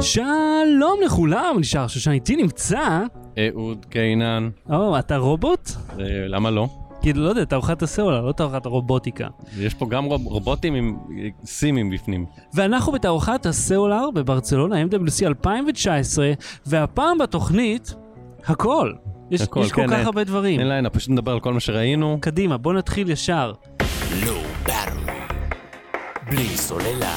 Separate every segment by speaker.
Speaker 1: שלום לכולם, נשאר שושן איתי נמצא.
Speaker 2: אה, אהוד קינן,
Speaker 1: או, אתה רובוט?
Speaker 2: אה, למה לא?
Speaker 1: כאילו, לא יודע, תערוכת הסלולר, לא תערוכת הרובוטיקה.
Speaker 2: יש פה גם רוב- רובוטים עם אה, סימים בפנים.
Speaker 1: ואנחנו בתערוכת הסלולר בברצלונה, MWC 2019, והפעם בתוכנית, הכל. יש,
Speaker 2: הכל,
Speaker 1: יש כל
Speaker 2: כן,
Speaker 1: כך
Speaker 2: אין-
Speaker 1: הרבה דברים.
Speaker 2: אין לילה, פשוט נדבר על כל מה שראינו.
Speaker 1: קדימה, בוא נתחיל ישר.
Speaker 3: לא, בלי סוללה.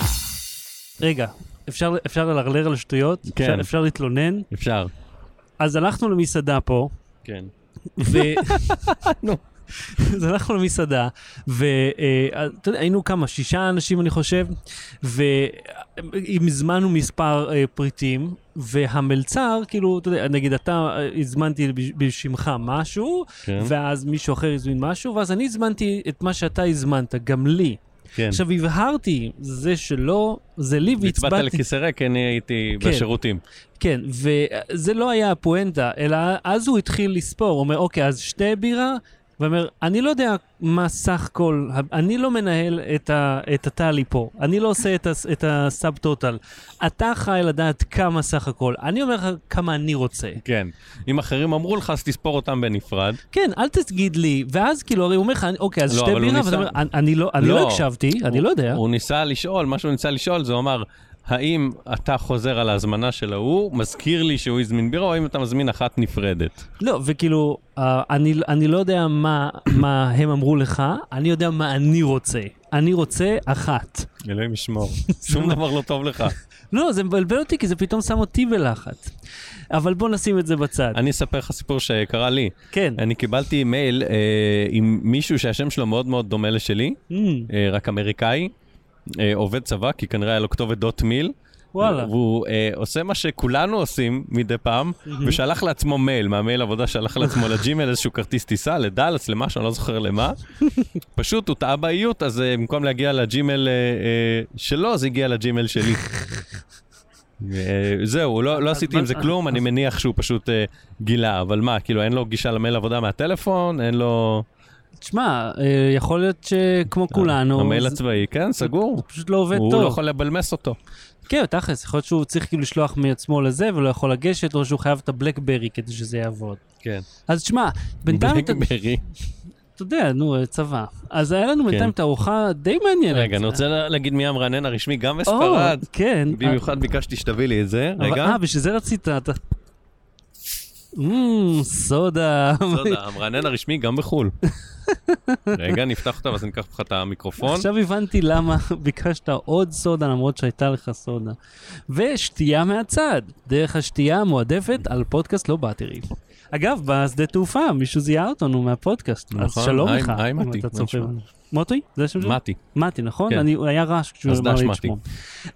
Speaker 1: רגע, אפשר, אפשר ללרלר על שטויות?
Speaker 2: כן.
Speaker 1: אפשר, אפשר להתלונן?
Speaker 2: אפשר.
Speaker 1: אז הלכנו למסעדה פה,
Speaker 2: כן.
Speaker 1: ו... נו. אז הלכנו למסעדה, אה, והיינו כמה, שישה אנשים אני חושב, והזמנו מספר אה, פריטים, והמלצר, כאילו, אתה יודע, נגיד אתה אה, הזמנתי בש- בשמך משהו,
Speaker 2: כן.
Speaker 1: ואז מישהו אחר הזמין משהו, ואז אני הזמנתי את מה שאתה הזמנת, גם לי.
Speaker 2: כן.
Speaker 1: עכשיו הבהרתי, זה שלא, זה לי
Speaker 2: הצבעת
Speaker 1: והצבעתי.
Speaker 2: לכיסא ריק, אני הייתי
Speaker 1: כן.
Speaker 2: בשירותים.
Speaker 1: כן, וזה לא היה הפואנטה, אלא אז הוא התחיל לספור, הוא אומר, אוקיי, אז שתי בירה, ואומר, אני לא יודע מה סך כל, ה- אני לא מנהל את ה- את הטלי פה, אני לא עושה את הס- את הסאב טוטל. אתה חי לדעת כמה סך הכל, אני אומר לך כמה אני רוצה.
Speaker 2: כן. אם אחרים אמרו לך, אז תספור אותם בנפרד.
Speaker 1: כן, אל תגיד לי, ואז כאילו, הרי הוא אומר לך, אוקיי, אז
Speaker 2: לא,
Speaker 1: שתי
Speaker 2: אבל הוא
Speaker 1: בירה, ואתה
Speaker 2: ניסה-
Speaker 1: אומר, "אני- אני לא אני לא הקשבתי, אני
Speaker 2: הוא-
Speaker 1: לא יודע.
Speaker 2: הוא ניסה לשאול, מה שהוא ניסה לשאול זה הוא אמר, האם אתה חוזר על ההזמנה של ההוא, מזכיר לי שהוא הזמין בירה, או האם אתה מזמין אחת נפרדת?
Speaker 1: לא, וכאילו, אה, אני, אני לא יודע מה, מה הם אמרו לך, אני יודע מה אני רוצה. אני רוצה אחת.
Speaker 2: אלוהים ישמור. שום דבר לא טוב לך.
Speaker 1: לא, זה מבלבל אותי, כי זה פתאום שם אותי בלחץ. אבל בוא נשים את זה בצד.
Speaker 2: אני אספר לך סיפור שקרה לי.
Speaker 1: כן.
Speaker 2: אני קיבלתי מייל אה, עם מישהו שהשם שלו מאוד מאוד דומה לשלי,
Speaker 1: Mm,
Speaker 2: אה, רק אמריקאי, אה, עובד צבא, כי כנראה היה לו כתובת דוט מיל.
Speaker 1: וואלה.
Speaker 2: והוא אה, עושה מה שכולנו עושים מדי פעם, ושלח לעצמו מייל, מהמייל עבודה שלח לעצמו לג'ימל איזשהו כרטיס טיסה, לדאלאס, למשהו, אני לא זוכר למה. פשוט הוא טעה באיות, אז אה, במקום להגיע לג'ימל אה, אה, שלו, זה הגיע לג'ימל שלי. אה, זהו, לא, לא
Speaker 1: אז
Speaker 2: עשיתי
Speaker 1: מה-
Speaker 2: עם זה כלום, אני מניח שהוא פשוט אה, גילה, אבל מה, כאילו אין לו גישה למייל עבודה מהטלפון, אין לו...
Speaker 1: תשמע, אה, יכול להיות שכמו כולנו,
Speaker 2: המייל
Speaker 1: זה-
Speaker 2: הצבאי, כן, סגור.
Speaker 1: הוא פשוט לא עובד
Speaker 2: הוא
Speaker 1: טוב.
Speaker 2: לא יכול לבלמס אותו.
Speaker 1: כן, תכלס, יכול להיות שהוא צריך כאילו לשלוח מעצמו לזה ולא יכול לגשת, או שהוא חייב את הבלקברי כדי שזה יעבוד.
Speaker 2: כן.
Speaker 1: אז תשמע, בינתיים אתה...
Speaker 2: בלקברי. כן.
Speaker 1: אתה יודע, נו, אה, צבא. אז היה לנו בינתיים תערוכה די מעניינת.
Speaker 2: רגע, אני רוצה לה- להגיד מי המרנן הרשמי, גם
Speaker 1: כן, או,
Speaker 2: בספרד.
Speaker 1: כן.
Speaker 2: במיוחד ביקשתי שתביא לי את זה.
Speaker 1: אבל-
Speaker 2: רגע.
Speaker 1: אה, בשביל זה רצית, אתה... אמ, סודה.
Speaker 2: תודה, המרנן הרשמי גם בחול. רגע, נפתח אותה ואז ניקח לך את המיקרופון.
Speaker 1: עכשיו הבנתי למה ביקשת עוד סודה למרות שהייתה לך סודה. ושתייה מהצד, דרך השתייה המועדפת על פודקאסט לא באטרי. אגב, בשדה תעופה מישהו זיהה אותנו מהפודקאסט, אז
Speaker 2: נכון,
Speaker 1: שלום
Speaker 2: היי-
Speaker 1: לך,
Speaker 2: היי,
Speaker 1: אם
Speaker 2: מתי,
Speaker 1: אתה
Speaker 2: מה
Speaker 1: צופה
Speaker 2: נשמע?
Speaker 1: בנו. מוטי? זה השם שלו?
Speaker 2: מתי,
Speaker 1: מתי, נכון?
Speaker 2: כן.
Speaker 1: אני- הוא היה רעש כשהוא
Speaker 2: אז
Speaker 1: אמר
Speaker 2: דש
Speaker 1: לי את
Speaker 2: מתי.
Speaker 1: שמו.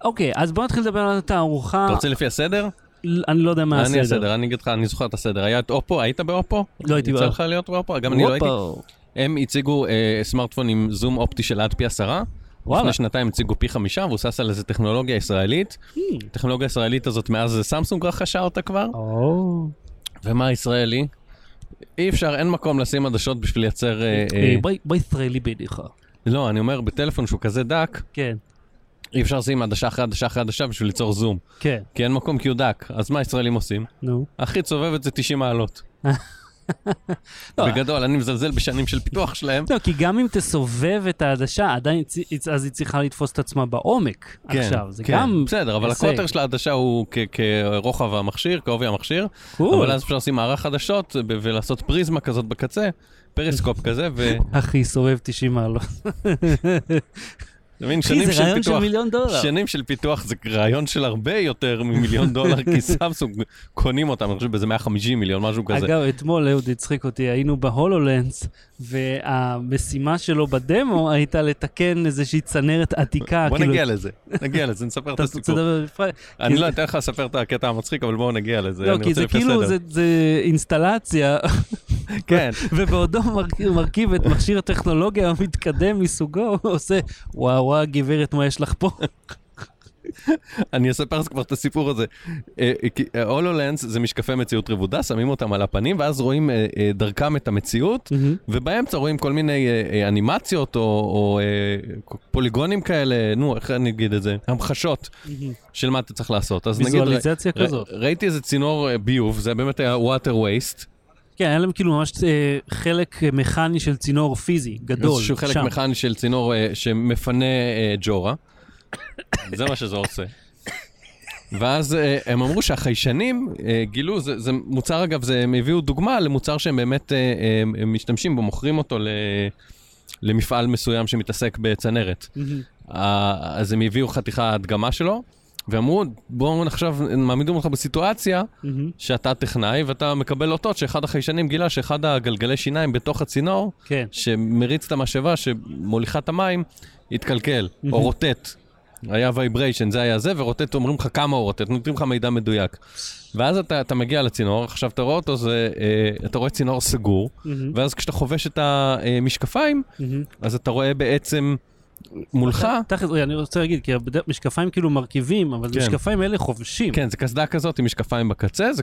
Speaker 1: אוקיי, אז בוא נתחיל לדבר על התערוכה,
Speaker 2: אתה רוצה לפי הסדר?
Speaker 1: ל- אני לא יודע מה הסדר.
Speaker 2: אני הסדר, אני אגיד לך, אני זוכר את הסדר. היה את אופו, היית באופו?
Speaker 1: לא הייתי
Speaker 2: יצא
Speaker 1: באופו.
Speaker 2: לך להיות באופו? גם אני לא הייתי.
Speaker 1: הופה.
Speaker 2: הם הציגו אה, סמארטפון עם זום אופטי של עד פי עשרה.
Speaker 1: וואלה.
Speaker 2: לפני שנתיים הציגו פי חמישה, מבוסס על איזה טכנולוגיה ישראלית. הטכנולוגיה הישראלית הזאת מאז סמסונג רכשה אותה כבר.
Speaker 1: או.
Speaker 2: ומה ישראלי? אי אפשר, אין מקום לשים עדשות בשביל לייצר... אה, אה,
Speaker 1: אה, בואי- בואי ישראלי בידיך.
Speaker 2: לא, אני אומר, בטלפון שהוא כזה דק,
Speaker 1: כן, אי
Speaker 2: אי אפשר לשים עדשה אחרי עדשה אחרי עדשה בשביל ליצור זום.
Speaker 1: כן,
Speaker 2: כי אין מקום כי הוא דק. אז מה ישראלים עושים?
Speaker 1: נו.
Speaker 2: הכי צובבת זה 90 מעלות.
Speaker 1: לא,
Speaker 2: בגדול, אני מזלזל בשנים של פיתוח שלהם.
Speaker 1: לא, כי גם אם תסובב את העדשה, עדיין, צי- היא- אז היא צריכה לתפוס את עצמה בעומק
Speaker 2: כן,
Speaker 1: עכשיו. זה
Speaker 2: כן.
Speaker 1: גם...
Speaker 2: בסדר, אבל
Speaker 1: הישג.
Speaker 2: הקוטר של העדשה הוא כ- כרוחב המכשיר, כעובי המכשיר,
Speaker 1: קול.
Speaker 2: אבל אז אפשר לשים מערך עדשות ב- ולעשות פריזמה כזאת בקצה, פריסקופ כזה, ואתה
Speaker 1: אחי, סובב 90 מעלות.
Speaker 2: מבין,
Speaker 1: אחי,
Speaker 2: שנים
Speaker 1: זה
Speaker 2: של
Speaker 1: רעיון של
Speaker 2: פיתוח.
Speaker 1: מיליון דולר.
Speaker 2: שנים של פיתוח זה רעיון של הרבה יותר ממיליון דולר, כי סמסונג קונים אותם, אני חושב באיזה 150 מיליון, משהו כזה.
Speaker 1: אגב, אתמול אהוד הצחיק אותי, היינו בהולולנס, והמשימה שלו בדמו הייתה לתקן איזושהי צנרת עתיקה.
Speaker 2: בוא
Speaker 1: כאילו,
Speaker 2: נגיע לזה, נגיע לזה, נספר את
Speaker 1: אתה רוצה
Speaker 2: הסיפור.
Speaker 1: לדבר בפרט?
Speaker 2: אני לא אתן לך לספר את הקטע המצחיק, אבל בואו נגיע לזה,
Speaker 1: לא,
Speaker 2: אני
Speaker 1: כי
Speaker 2: רוצה
Speaker 1: זה
Speaker 2: לפי
Speaker 1: כאילו,
Speaker 2: הסדר.
Speaker 1: זה- זה אינסטלציה,
Speaker 2: כן,
Speaker 1: ובעודו מרכיב, מרכיב את מכשיר הטכנולוגיה המתקדם מסוגו, הוא עושה, וואו וואו גברת, מה יש לך פה?
Speaker 2: אני אספר לך כבר את הסיפור הזה. אה, אה, כי, אה, הולולנס זה משקפי מציאות רבודה, שמים אותם על הפנים, ואז רואים אה, אה, דרכם את המציאות,
Speaker 1: מהמם.
Speaker 2: ובאמצע רואים כל מיני אה, אה, אנימציות או, או אה, פוליגונים כאלה, נו, איך אני אגיד את זה? המחשות של מה אתה צריך לעשות. אז נגיד, ר-
Speaker 1: ויזואליזציה
Speaker 2: ר-
Speaker 1: כזאת.
Speaker 2: ראיתי איזה צינור אה, ביוב, זה באמת היה water waste.
Speaker 1: כן, היה להם כאילו ממש אה, חלק אה, מכני של צינור פיזי, גדול,
Speaker 2: איזשהו חלק
Speaker 1: שם.
Speaker 2: מכני של צינור אה, שמפנה אה, ג'ורה. זה מה שזה עושה. ואז אה, הם אמרו שהחיישנים אה, גילו, זה, זה מוצר אגב, זה, הם הביאו דוגמה למוצר שהם באמת אה, אה, הם משתמשים בו, מוכרים אותו ל, למפעל מסוים שמתעסק בצנרת.
Speaker 1: מהמם.
Speaker 2: אה, אז הם הביאו חתיכה הדגמה שלו, ואמרו, בואו עכשיו מעמידים אותך בסיטואציה
Speaker 1: מהמם.
Speaker 2: שאתה טכנאי ואתה מקבל אותות שאחד החיישנים גילה שאחד הגלגלי שיניים בתוך הצינור
Speaker 1: כן.
Speaker 2: שמריץ את המשאבה שמוליכה את המים, התקלקל,
Speaker 1: Mhm.
Speaker 2: או רוטט. היה וייבריישן, זה היה זה, ורוטט, אומרים לך כמה הוא רוטט, נותנים לך מידע מדויק. ואז אתה, אתה מגיע לצינור, עכשיו אתה רואה אותו, זה, אה, אתה רואה צינור סגור,
Speaker 1: מהמם.
Speaker 2: ואז כשאתה חובש את המשקפיים,
Speaker 1: מהמם.
Speaker 2: אז אתה רואה בעצם מולך,
Speaker 1: תכלס, רגע, אני רוצה להגיד, כי הבד- משקפיים כאילו מרכיבים, אבל
Speaker 2: כן.
Speaker 1: משקפיים אלה חובשים.
Speaker 2: כן, זה קסדה כזאת עם משקפיים בקצה, זה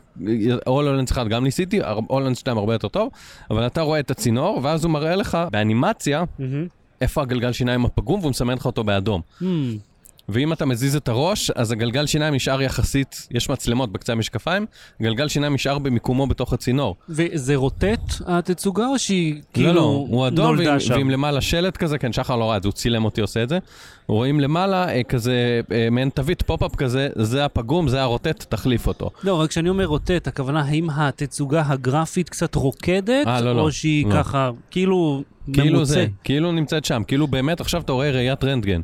Speaker 2: הולנדס 1 גם ניסיתי, הולנדס 2 הרבה יותר טוב, אבל אתה רואה את הצינור, ואז הוא מראה לך באנימציה
Speaker 1: מהמם. Hmm.
Speaker 2: איפה הגלגל שיניים הפגום, והוא מסמן לך אותו באדום.
Speaker 1: מהמם.
Speaker 2: ואם אתה מזיז את הראש, אז הגלגל שיניים נשאר יחסית, יש מצלמות בקצה המשקפיים, גלגל שיניים נשאר במיקומו בתוך הצינור.
Speaker 1: וזה רוטט התצוגה או שהיא כאילו
Speaker 2: לא, לא, הוא אדום,
Speaker 1: נולדה
Speaker 2: ועם,
Speaker 1: שם?
Speaker 2: ועם למעלה שלט כזה, כן, שחר לא ראה את זה, הוא צילם אותי עושה את זה. רואים למעלה אה, כזה, אה, מעין תווית פופ-אפ כזה, זה הפגום, זה הרוטט, תחליף אותו.
Speaker 1: לא, רק כשאני אומר רוטט, הכוונה האם התצוגה הגרפית קצת רוקדת,
Speaker 2: אה, לא, לא.
Speaker 1: או שהיא
Speaker 2: לא.
Speaker 1: ככה, כאילו,
Speaker 2: כאילו
Speaker 1: ממוצה.
Speaker 2: זה, כאילו נמצאת שם, כאילו באמת עכשיו אתה רואה ראיית רנטגן.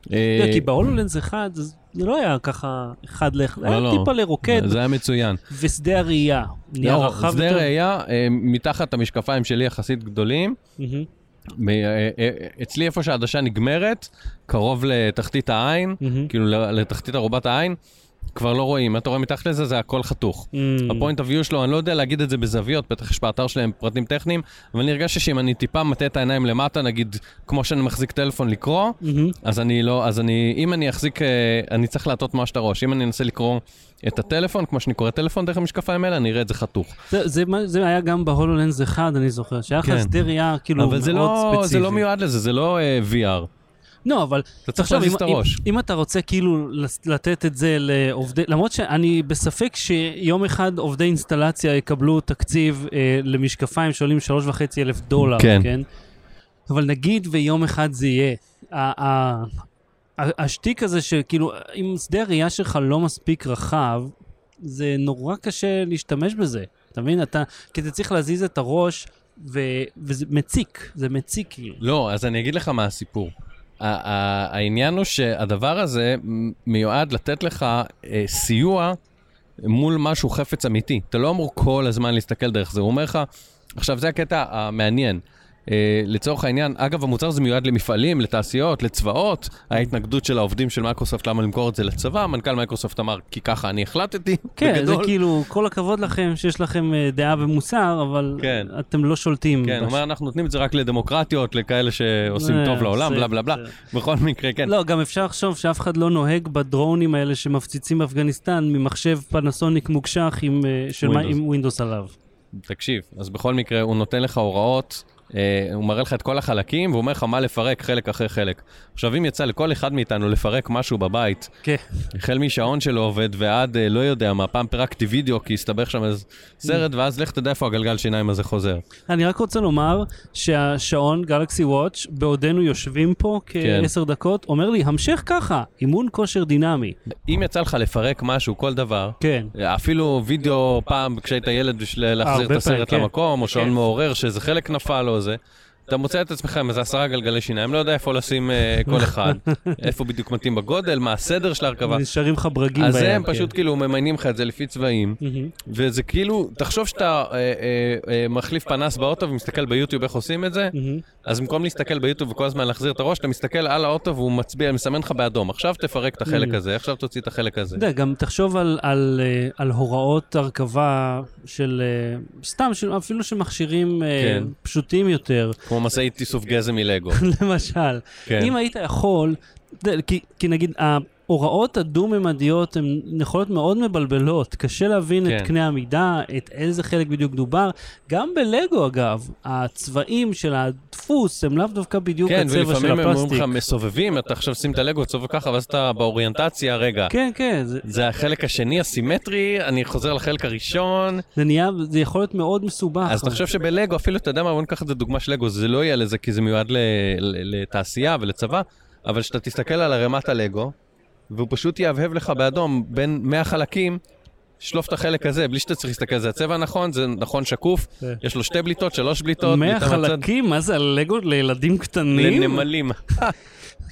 Speaker 1: אתה יודע,
Speaker 2: אה,
Speaker 1: כי בהולולנס אחד, אז זה לא היה ככה אחד לאחד, היה
Speaker 2: לא.
Speaker 1: טיפה לרוקד,
Speaker 2: זה היה מצוין.
Speaker 1: ושדה הראייה נהיה
Speaker 2: לא,
Speaker 1: רחב
Speaker 2: שדה
Speaker 1: יותר.
Speaker 2: ראייה, אה, מתחת המשקפיים שלי יחסית גדולים,
Speaker 1: מהמם,
Speaker 2: מ- אה, אה, אה, אצלי איפה שהעדשה נגמרת, קרוב לתחתית העין,
Speaker 1: מהמם.
Speaker 2: כאילו ל- לתחתית ארובת העין, כבר לא רואים. אתה רואה מתחת לזה, זה הכל חתוך.
Speaker 1: מהמם.
Speaker 2: הפוינט אביו שלו, אני לא יודע להגיד את זה בזוויות, בטח יש באתר שלהם פרטים טכניים, אבל אני הרגשתי שאם אני טיפה מטה את העיניים למטה, נגיד, כמו שאני מחזיק טלפון לקרוא,
Speaker 1: מהמם,
Speaker 2: אז אני לא, אז אני, אם אני אחזיק, אה, אני צריך להטות ממש את הראש. אם אני אנסה לקרוא את הטלפון, כמו שאני קורא טלפון דרך המשקפיים האלה, אני אראה את זה חתוך.
Speaker 1: זה- זה מה- זה היה גם בהולולנס אחד, אני זוכר, שהיה לך
Speaker 2: כן.
Speaker 1: שדה ראייה כאילו מאוד
Speaker 2: אבל זה
Speaker 1: ספציפי.
Speaker 2: לא, זה לא מיועד לזה, זה לא אה, VR.
Speaker 1: לא, אבל
Speaker 2: אתה צריך
Speaker 1: עכשיו,
Speaker 2: להזיז
Speaker 1: אם-
Speaker 2: את
Speaker 1: אם-
Speaker 2: הראש.
Speaker 1: אם אתה רוצה כאילו לס- לתת את זה לעובדי, למרות שאני בספק שיום אחד עובדי אינסטלציה יקבלו תקציב אה, למשקפיים שעולים שלוש וחצי אלף דולר,
Speaker 2: כן.
Speaker 1: כן? אבל נגיד ויום אחד זה יהיה. ה- ה- ה- השטיק הזה שכאילו, אם שדה הראייה שלך לא מספיק רחב, זה נורא קשה להשתמש בזה. אתה מבין? אתה, כי אתה צריך להזיז את הראש, ו, וזה מציק, זה מציק כאילו.
Speaker 2: לא, אז אני אגיד לך מה הסיפור. ה- ה- העניין הוא שהדבר הזה מ- מיועד לתת לך אה, סיוע מול משהו חפץ אמיתי. אתה לא אמור כל הזמן להסתכל דרך זה, הוא אומר לך, עכשיו זה הקטע המעניין. אה, לצורך העניין, אגב, המוצר הזה מיועד למפעלים, לתעשיות, לצבאות. ההתנגדות של העובדים של מייקרוסופט, למה למכור את זה לצבא? מנכ"ל מייקרוסופט אמר, כי ככה אני החלטתי,
Speaker 1: כן,
Speaker 2: בגדול.
Speaker 1: זה כאילו, כל הכבוד לכם שיש לכם אה, דעה ומוסר, אבל
Speaker 2: כן.
Speaker 1: אתם לא שולטים.
Speaker 2: כן, הוא
Speaker 1: בש-
Speaker 2: אומר, אנחנו נותנים את זה רק לדמוקרטיות, לכאלה שעושים
Speaker 1: אה,
Speaker 2: טוב לעולם,
Speaker 1: זה-
Speaker 2: בלה בלה בלה.
Speaker 1: זה-
Speaker 2: בכל מקרה, כן.
Speaker 1: לא, גם אפשר לחשוב שאף אחד לא נוהג בדרונים האלה שמפציצים באפגניסטן ממחשב פנסוניק מוקשח עם, אה, של מה-
Speaker 2: Windows.
Speaker 1: עם ווינדוס עליו.
Speaker 2: תקשיב, אז בכל מקרה, הוא נותן לך הוראות, אה, הוא מראה לך את כל החלקים, והוא אומר לך מה לפרק חלק אחרי חלק. עכשיו, אם יצא לכל אחד מאיתנו לפרק משהו בבית,
Speaker 1: כן.
Speaker 2: החל משעון שלא עובד ועד, אה, לא יודע מה, פעם פירקתי וידאו כי הסתבך שם איזה סרט, ואז לך תדע איפה הגלגל שיניים הזה חוזר.
Speaker 1: אני רק רוצה לומר שהשעון גלקסי וואץ', בעודנו יושבים פה
Speaker 2: כן.
Speaker 1: כעשר דקות, אומר לי, המשך ככה, אימון כושר דינמי.
Speaker 2: אם יצא לך לפרק משהו, כל דבר,
Speaker 1: כן.
Speaker 2: אפילו וידאו פעם כשהיית ילד בשביל להחזיר את
Speaker 1: הרבה פעמים,
Speaker 2: הסרט
Speaker 1: כן.
Speaker 2: למקום, או שעון
Speaker 1: כן.
Speaker 2: מעורר שאיזה חלק נפל או זה. אתה מוצא את עצמך עם איזה עשרה גלגלי שיניים, לא יודע איפה לשים אה, כל אחד, איפה בדיוק מתאים בגודל, מה הסדר של ההרכבה.
Speaker 1: נשארים לך ברגים
Speaker 2: אז
Speaker 1: ביד,
Speaker 2: הם
Speaker 1: כן.
Speaker 2: פשוט כאילו ממיינים לך את זה לפי צבעים,
Speaker 1: מהמם.
Speaker 2: וזה כאילו, תחשוב שאתה אה, אה, אה, מחליף פנס באוטו ומסתכל ביוטיוב איך עושים את זה,
Speaker 1: מהמם.
Speaker 2: אז במקום להסתכל ביוטיוב וכל הזמן להחזיר את הראש, אתה מסתכל על האוטו והוא מצביע, מסמן לך באדום, עכשיו תפרק את
Speaker 1: Mm.
Speaker 2: החלק הזה, עכשיו תוציא את החלק הזה.
Speaker 1: אתה יודע, גם תחשוב על, על, אה, על הוראות הרכבה של אה, סתם, של, אפילו של מכשירים אה,
Speaker 2: כן.
Speaker 1: פשוטים יותר,
Speaker 2: כמו משאית איסוף גזם מלגו.
Speaker 1: למשל.
Speaker 2: כן.
Speaker 1: אם היית יכול, אתה יודע, כי, כי נגיד, ה- ההוראות הדו-ממדיות הן יכולות מאוד מבלבלות. קשה להבין
Speaker 2: כן.
Speaker 1: את קנה המידה, את איזה חלק בדיוק דובר. גם בלגו, אגב, הצבעים של הדפוס הם לאו דווקא בדיוק
Speaker 2: כן,
Speaker 1: הצבע של
Speaker 2: ולפעמים הם אומרים
Speaker 1: הפלסטיק.
Speaker 2: לך מסובבים, אתה עכשיו שים את הלגו, תסובב ככה, ואז אתה באוריינטציה, רגע.
Speaker 1: כן, כן, זה,
Speaker 2: זה החלק השני הסימטרי, אני חוזר לחלק הראשון.
Speaker 1: זה נהיה, זה יכול להיות מאוד מסובך.
Speaker 2: אז אתה חושב שבלגו, אפילו, אתה יודע מה, בוא ניקח את הדוגמה של לגו, זה לא יהיה לזה, כי זה מיועד ל- ל- לתעשייה ולצבא, אבל כשאתה תסתכל על ערימת הלגו, והוא פשוט יהבהב לך באדום בין 100 חלקים, שלוף את החלק הזה, בלי שאתה צריך להסתכל, זה הצבע נכון, זה נכון שקוף,
Speaker 1: כן.
Speaker 2: יש לו שתי בליטות, שלוש בליטות,
Speaker 1: מאה
Speaker 2: בליטה מהצד.
Speaker 1: חלקים? מה זה הלגו לילדים קטנים?
Speaker 2: לנמלים.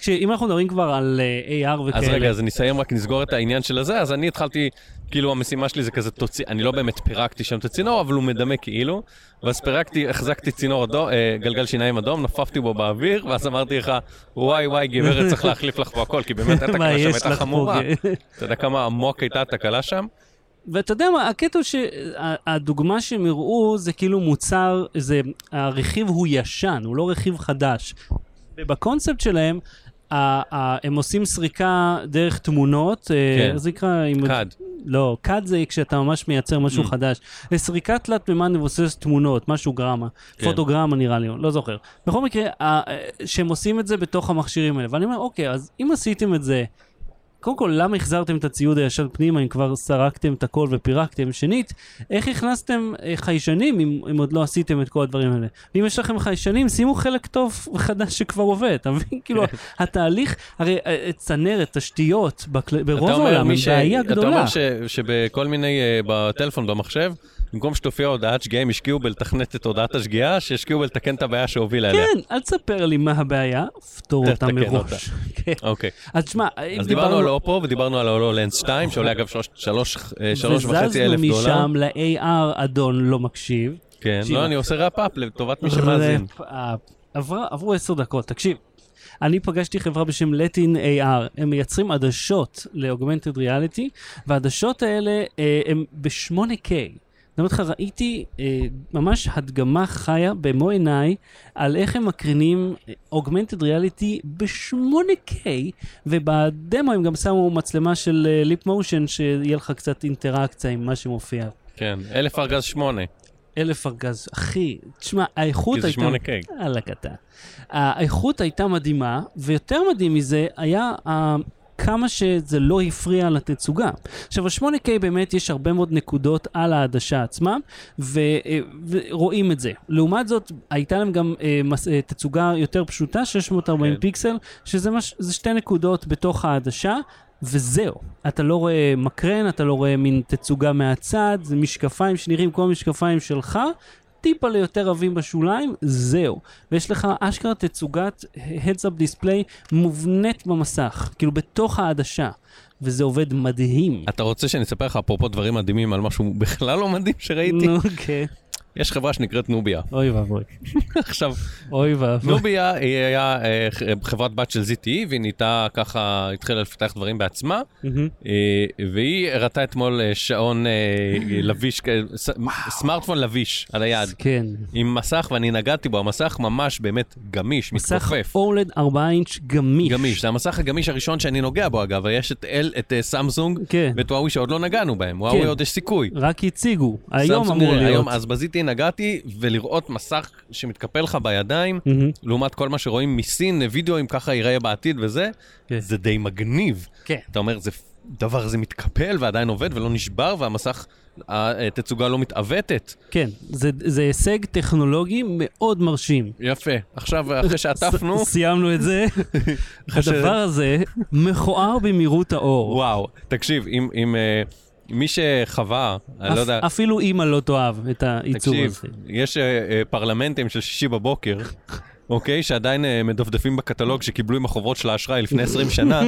Speaker 1: אם אנחנו מדברים כבר על אה, AR וכאלה.
Speaker 2: אז רגע, אז נסיים, רק נסגור את העניין של הזה, אז אני התחלתי, כאילו המשימה שלי זה כזה תוציא, אני לא באמת פירקתי שם את הצינור, אבל הוא מדמה כאילו, ואז פירקתי, החזקתי צינור אדום, אה, גלגל שיניים אדום, נופפתי בו באוויר, ואז אמרתי לך, וואי וואי גברת, צריך להחליף לך פה הכל, כי באמת
Speaker 1: מה
Speaker 2: התקלה שם
Speaker 1: יש
Speaker 2: הייתה
Speaker 1: לך פה,
Speaker 2: חמורה.
Speaker 1: כן.
Speaker 2: אתה יודע כמה עמוק הייתה התקלה שם?
Speaker 1: ואתה יודע מה, הקטע הוא שהדוגמה שהם הראו זה כאילו מוצר, זה, הרכיב הוא ישן, הוא לא רכיב חדש. ובקונספט שלהם, ה- ה- הם עושים סריקה דרך תמונות,
Speaker 2: כן.
Speaker 1: כן. זה נקרא... עם-
Speaker 2: קד.
Speaker 1: לא, קאט זה כשאתה ממש מייצר משהו
Speaker 2: Mm.
Speaker 1: חדש. לסריקה תלת מימן מבוססת תמונות, משהו גרמה.
Speaker 2: כן.
Speaker 1: פוטוגרמה נראה לי, לא זוכר. בכל מקרה, ה- אה, שהם עושים את זה בתוך המכשירים האלה. ואני אומר, אוקיי, אז אם עשיתם את זה, קודם כל, למה החזרתם את הציוד הישן פנימה אם כבר סרקתם את הכל ופירקתם? שנית, איך הכנסתם אה, חיישנים אם, אם עוד לא עשיתם את כל הדברים האלה? ואם יש לכם חיישנים, שימו חלק טוב וחדש שכבר עובד, אתה מבין? כאילו,
Speaker 2: כן.
Speaker 1: התהליך, הרי אה, צנרת, תשתיות, בכל... ברוב
Speaker 2: אתה אומר,
Speaker 1: העולם,
Speaker 2: מי
Speaker 1: הם
Speaker 2: ש-
Speaker 1: בעיה גדולה.
Speaker 2: אתה אומר ש- שבכל מיני, אה, בטלפון, במחשב, במקום שתופיע הודעת שגיאה, הם השקיעו בלתכנת את הודעת השגיאה, שהשקיעו בלתקן את הבעיה שהובילה אליה.
Speaker 1: כן, אל תספר לי מה הבעיה, פתור אותה
Speaker 2: תתקן
Speaker 1: מראש. כן.
Speaker 2: אוקיי.
Speaker 1: אז תשמע, אם
Speaker 2: אז דיברנו על אופו ודיברנו על הולו לנס 2, שעולה אגב שלוש- שלוש אה, שלוש וחצי אלף דולר.
Speaker 1: וזזנו משם ל-AR, אדון לא מקשיב.
Speaker 2: כן,
Speaker 1: תקשיב.
Speaker 2: לא, אני עושה ראפ-אפ לטובת מי שמאזין.
Speaker 1: רפ- אה, עברה- עברו עשר דקות, תקשיב. אני פגשתי חברה בשם Latin AR, הם מייצרים עדשות ל-Augmented Reality, והעדשות האלה אה, הם ב-8K. אני אומר לך, ראיתי אה, ממש הדגמה חיה במו עיניי על איך הם מקרינים אה, Augmented Reality ב-8K, ובדמו הם גם שמו מצלמה של ליפ מושן, שיהיה לך קצת אינטראקציה עם מה שמופיע.
Speaker 2: כן, אלף ארגז שמונה,
Speaker 1: אלף ארגז, אחי, תשמע, האיכות
Speaker 2: כי
Speaker 1: הייתה...
Speaker 2: זה שמונה קייק.
Speaker 1: וואלכ אתה. האיכות הייתה מדהימה, ויותר מדהים מזה היה ה... כמה שזה לא הפריע לתצוגה. עכשיו, ה-8K באמת יש הרבה מאוד נקודות על העדשה עצמה, ו- אה, ורואים את זה. לעומת זאת, הייתה להם גם אה, מס- אה, תצוגה יותר פשוטה, 640
Speaker 2: כן.
Speaker 1: כן. פיקסל, שזה מש- זה שתי נקודות בתוך העדשה, וזהו. אתה לא רואה מקרן, אתה לא רואה מין תצוגה מהצד, זה משקפיים שנראים כמו המשקפיים שלך, טיפה ליותר עבים בשוליים, זהו. ויש לך אשכרה תצוגת heads-up display מובנית במסך, כאילו בתוך העדשה, וזה עובד מדהים.
Speaker 2: אתה רוצה שאני אספר לך אפרופו דברים מדהימים על משהו בכלל לא מדהים שראיתי?
Speaker 1: נו, כן.
Speaker 2: יש חברה שנקראת נוביה.
Speaker 1: אוי ואבוי.
Speaker 2: עכשיו,
Speaker 1: אוי ואבוי.
Speaker 2: נוביה היא היה אה, ח- חברת בת של ZTE, והיא נהייתה ככה, התחילה לפתח דברים בעצמה,
Speaker 1: מהמם.
Speaker 2: אה, והיא הראתה אתמול אה, שעון אה, לביש, כ- ס- סמארטפון לביש על היד.
Speaker 1: כן.
Speaker 2: עם מסך, ואני נגעתי בו, המסך ממש באמת גמיש,
Speaker 1: מסך
Speaker 2: מתכופף.
Speaker 1: אולד 4 אינץ' גמיש.
Speaker 2: גמיש, זה המסך הגמיש הראשון שאני נוגע בו אגב, יש את, אל, את אה, סמסונג
Speaker 1: כן.
Speaker 2: ואת וואוי שעוד לא נגענו בהם, וואוי עוד יש סיכוי.
Speaker 1: רק הציגו. היום
Speaker 2: סמסונג
Speaker 1: אמור
Speaker 2: נראה-
Speaker 1: להיות.
Speaker 2: היום, אז בזיתי נגעתי ולראות מסך שמתקפל לך בידיים,
Speaker 1: מהמם.
Speaker 2: לעומת כל מה שרואים מסין, וידאו אם ככה ייראה בעתיד וזה,
Speaker 1: כן.
Speaker 2: זה די מגניב.
Speaker 1: כן.
Speaker 2: אתה אומר, זה דבר הזה מתקפל ועדיין עובד ולא נשבר, והמסך, התצוגה לא מתעוותת.
Speaker 1: כן. זה- זה הישג טכנולוגי מאוד מרשים.
Speaker 2: יפה. עכשיו, אחרי שעטפנו...
Speaker 1: ס- סיימנו את זה. הדבר הזה מכוער במהירות האור.
Speaker 2: וואו, תקשיב, אם, אם אה, מי שחווה, אני לא
Speaker 1: אפ-
Speaker 2: יודע,
Speaker 1: אפילו אימא לא תאהב לא את הייצור
Speaker 2: תקשיב,
Speaker 1: הזה.
Speaker 2: יש אה, אה, פרלמנטים של שישי בבוקר, אוקיי, שעדיין אה, מדפדפים בקטלוג שקיבלו עם החוברות של האשראי לפני 20 שנה,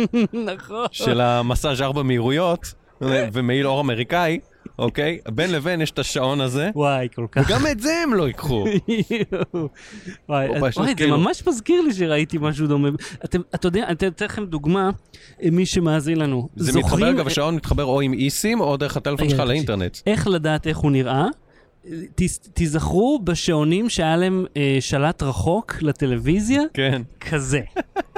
Speaker 1: נכון.
Speaker 2: של המסאז' ארבע מהירויות ו- ומעיל אור אמריקאי, אוקיי? בין לבין יש את השעון הזה,
Speaker 1: וואי, כל כך.
Speaker 2: גם את זה הם לא ייקחו.
Speaker 1: יואו. וואי,
Speaker 2: או
Speaker 1: אז-
Speaker 2: פשוט
Speaker 1: וואי, זה
Speaker 2: כאילו-
Speaker 1: ממש מזכיר לי שראיתי משהו דומה. אתם, אתה יודע, אני אתן לכם דוגמה, אה, מי שמאזין לנו.
Speaker 2: זה מתחבר,
Speaker 1: זוכרים
Speaker 2: אגב, השעון מתחבר או עם אי-סים או דרך הטלפון
Speaker 1: רגע,
Speaker 2: שלך
Speaker 1: תקשיב.
Speaker 2: לאינטרנט.
Speaker 1: איך לדעת איך הוא נראה? תז- תיזכרו בשעונים שהיה להם אה, שלט רחוק לטלוויזיה,
Speaker 2: כן.
Speaker 1: כזה.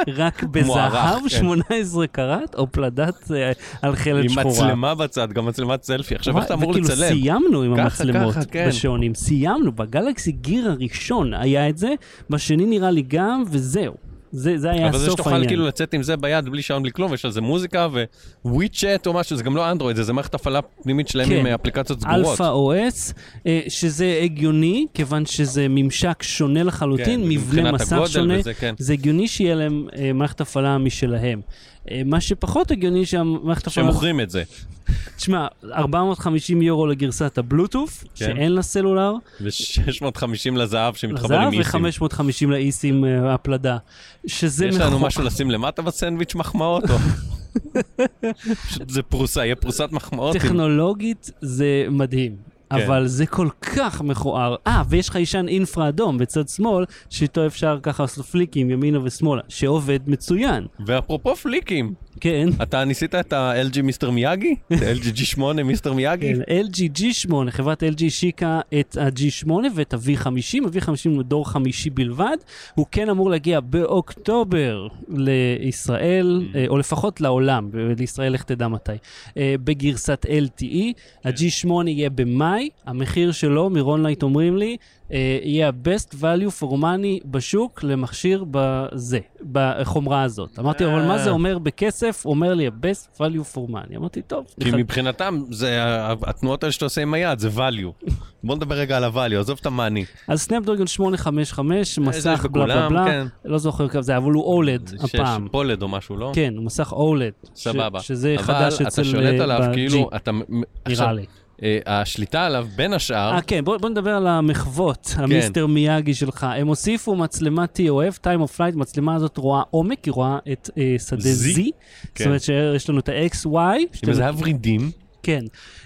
Speaker 1: רק
Speaker 2: מוערך,
Speaker 1: בזהב
Speaker 2: כן.
Speaker 1: 18 קראט, או פלדת אה, על חלד
Speaker 2: עם
Speaker 1: שחורה. כאילו
Speaker 2: מצלמה בצד, גם מצלמת סלפי. עכשיו איך אתה אמור
Speaker 1: וכאילו
Speaker 2: לצלם?
Speaker 1: סיימנו עם
Speaker 2: ככה,
Speaker 1: המצלמות
Speaker 2: ככה, כן.
Speaker 1: בשעונים, סיימנו, בגלקסי גיר הראשון היה את זה, בשני נראה לי גם, וזהו. זה, זה היה
Speaker 2: אבל זה
Speaker 1: סוף
Speaker 2: שתוכל
Speaker 1: העניין.
Speaker 2: כאילו לצאת עם זה ביד בלי שעון, בלי כלום, יש על זה מוזיקה וויצ'ט או משהו, זה גם לא אנדרואיד, זה- זה מערכת הפעלה פנימית שלהם
Speaker 1: כן.
Speaker 2: עם אה, אפליקציות סגורות.
Speaker 1: אלפא OS, אה, שזה הגיוני, כיוון שזה ממשק שונה לחלוטין,
Speaker 2: כן,
Speaker 1: מבנה
Speaker 2: מבחינת
Speaker 1: מסך
Speaker 2: הגודל
Speaker 1: שונה,
Speaker 2: וזה, כן.
Speaker 1: זה הגיוני שיהיה להם אה, מערכת הפעלה משלהם. אה, מה שפחות הגיוני שהמערכת
Speaker 2: שהם
Speaker 1: הפעלה...
Speaker 2: מוכרים את זה.
Speaker 1: תשמע, 450 יורו לגרסת
Speaker 2: כן.
Speaker 1: הבלוטוף, שאין לה סלולר,
Speaker 2: ו-650 לזהב שמתחבר
Speaker 1: לזהב
Speaker 2: עם
Speaker 1: ו-550
Speaker 2: איסים.
Speaker 1: לאיסים אה, הפלדה. שזה
Speaker 2: יש לנו
Speaker 1: מכו-
Speaker 2: משהו לשים למטה בסנדוויץ' מחמאות? או- פשוט זה פרוסה, יהיה פרוסת מחמאות. עם-
Speaker 1: טכנולוגית זה מדהים.
Speaker 2: כן.
Speaker 1: אבל זה כל כך מכוער. אה, ויש חיישן אינפרה אדום בצד שמאל, שאיתו אפשר ככה לעשות פליקים ימינה ושמאלה, שעובד מצוין.
Speaker 2: ואפרופו פליקים,
Speaker 1: כן.
Speaker 2: אתה ניסית את ה-LG מיסטר מיאגי? את ה-LG G8 מיסטר מיאגי?
Speaker 1: כן, LG G8, חברת LG השיקה את ה-G8 ואת ה-V50, ה-V50 הוא דור חמישי בלבד, הוא כן אמור להגיע באוקטובר לישראל, אה, או לפחות לעולם, ולישראל לך תדע מתי, אה, בגרסת LTE, ה-G8 יהיה במאי, המחיר שלו, מירון לייט אומרים לי, אה, יהיה ה-best value for money בשוק למכשיר בזה, בחומרה הזאת. אמרתי, אבל מה זה אומר בכסף? הוא אומר לי, ה-best value for money. אמרתי, טוב,
Speaker 2: כי מבחינתם, זה ה- התנועות האלה שאתה עושה עם היד, זה value. בוא נדבר רגע על ה-value, עזוב את המאני.
Speaker 1: אז סנאפדרגון 855,
Speaker 2: אה, זה יש
Speaker 1: מסך בלה בלה בלה,
Speaker 2: בכולם, כן.
Speaker 1: לא זוכר כמה זה, אבל הוא אולד הפעם.
Speaker 2: פולד או משהו, לא?
Speaker 1: כן, הוא מסך אולד. ש-
Speaker 2: סבבה.
Speaker 1: שזה חדש
Speaker 2: אבל
Speaker 1: אצל...
Speaker 2: אתה שולט
Speaker 1: אה,
Speaker 2: עליו,
Speaker 1: ב-
Speaker 2: כאילו,
Speaker 1: G,
Speaker 2: אתה... מ- מ-
Speaker 1: נראה
Speaker 2: עכשיו,
Speaker 1: לי.
Speaker 2: אה, השליטה עליו, בין השאר,
Speaker 1: אה, כן, בוא בוא נדבר על המחוות,
Speaker 2: כן.
Speaker 1: המיסטר מיאגי שלך. הם הוסיפו מצלמת TOF, time of flight, מצלמה הזאת רואה עומק, היא רואה את אה, שדה Z.
Speaker 2: Z.
Speaker 1: זאת
Speaker 2: כן.
Speaker 1: אומרת שיש לנו את ה-XY.
Speaker 2: עם איזה ורידים.
Speaker 1: כן.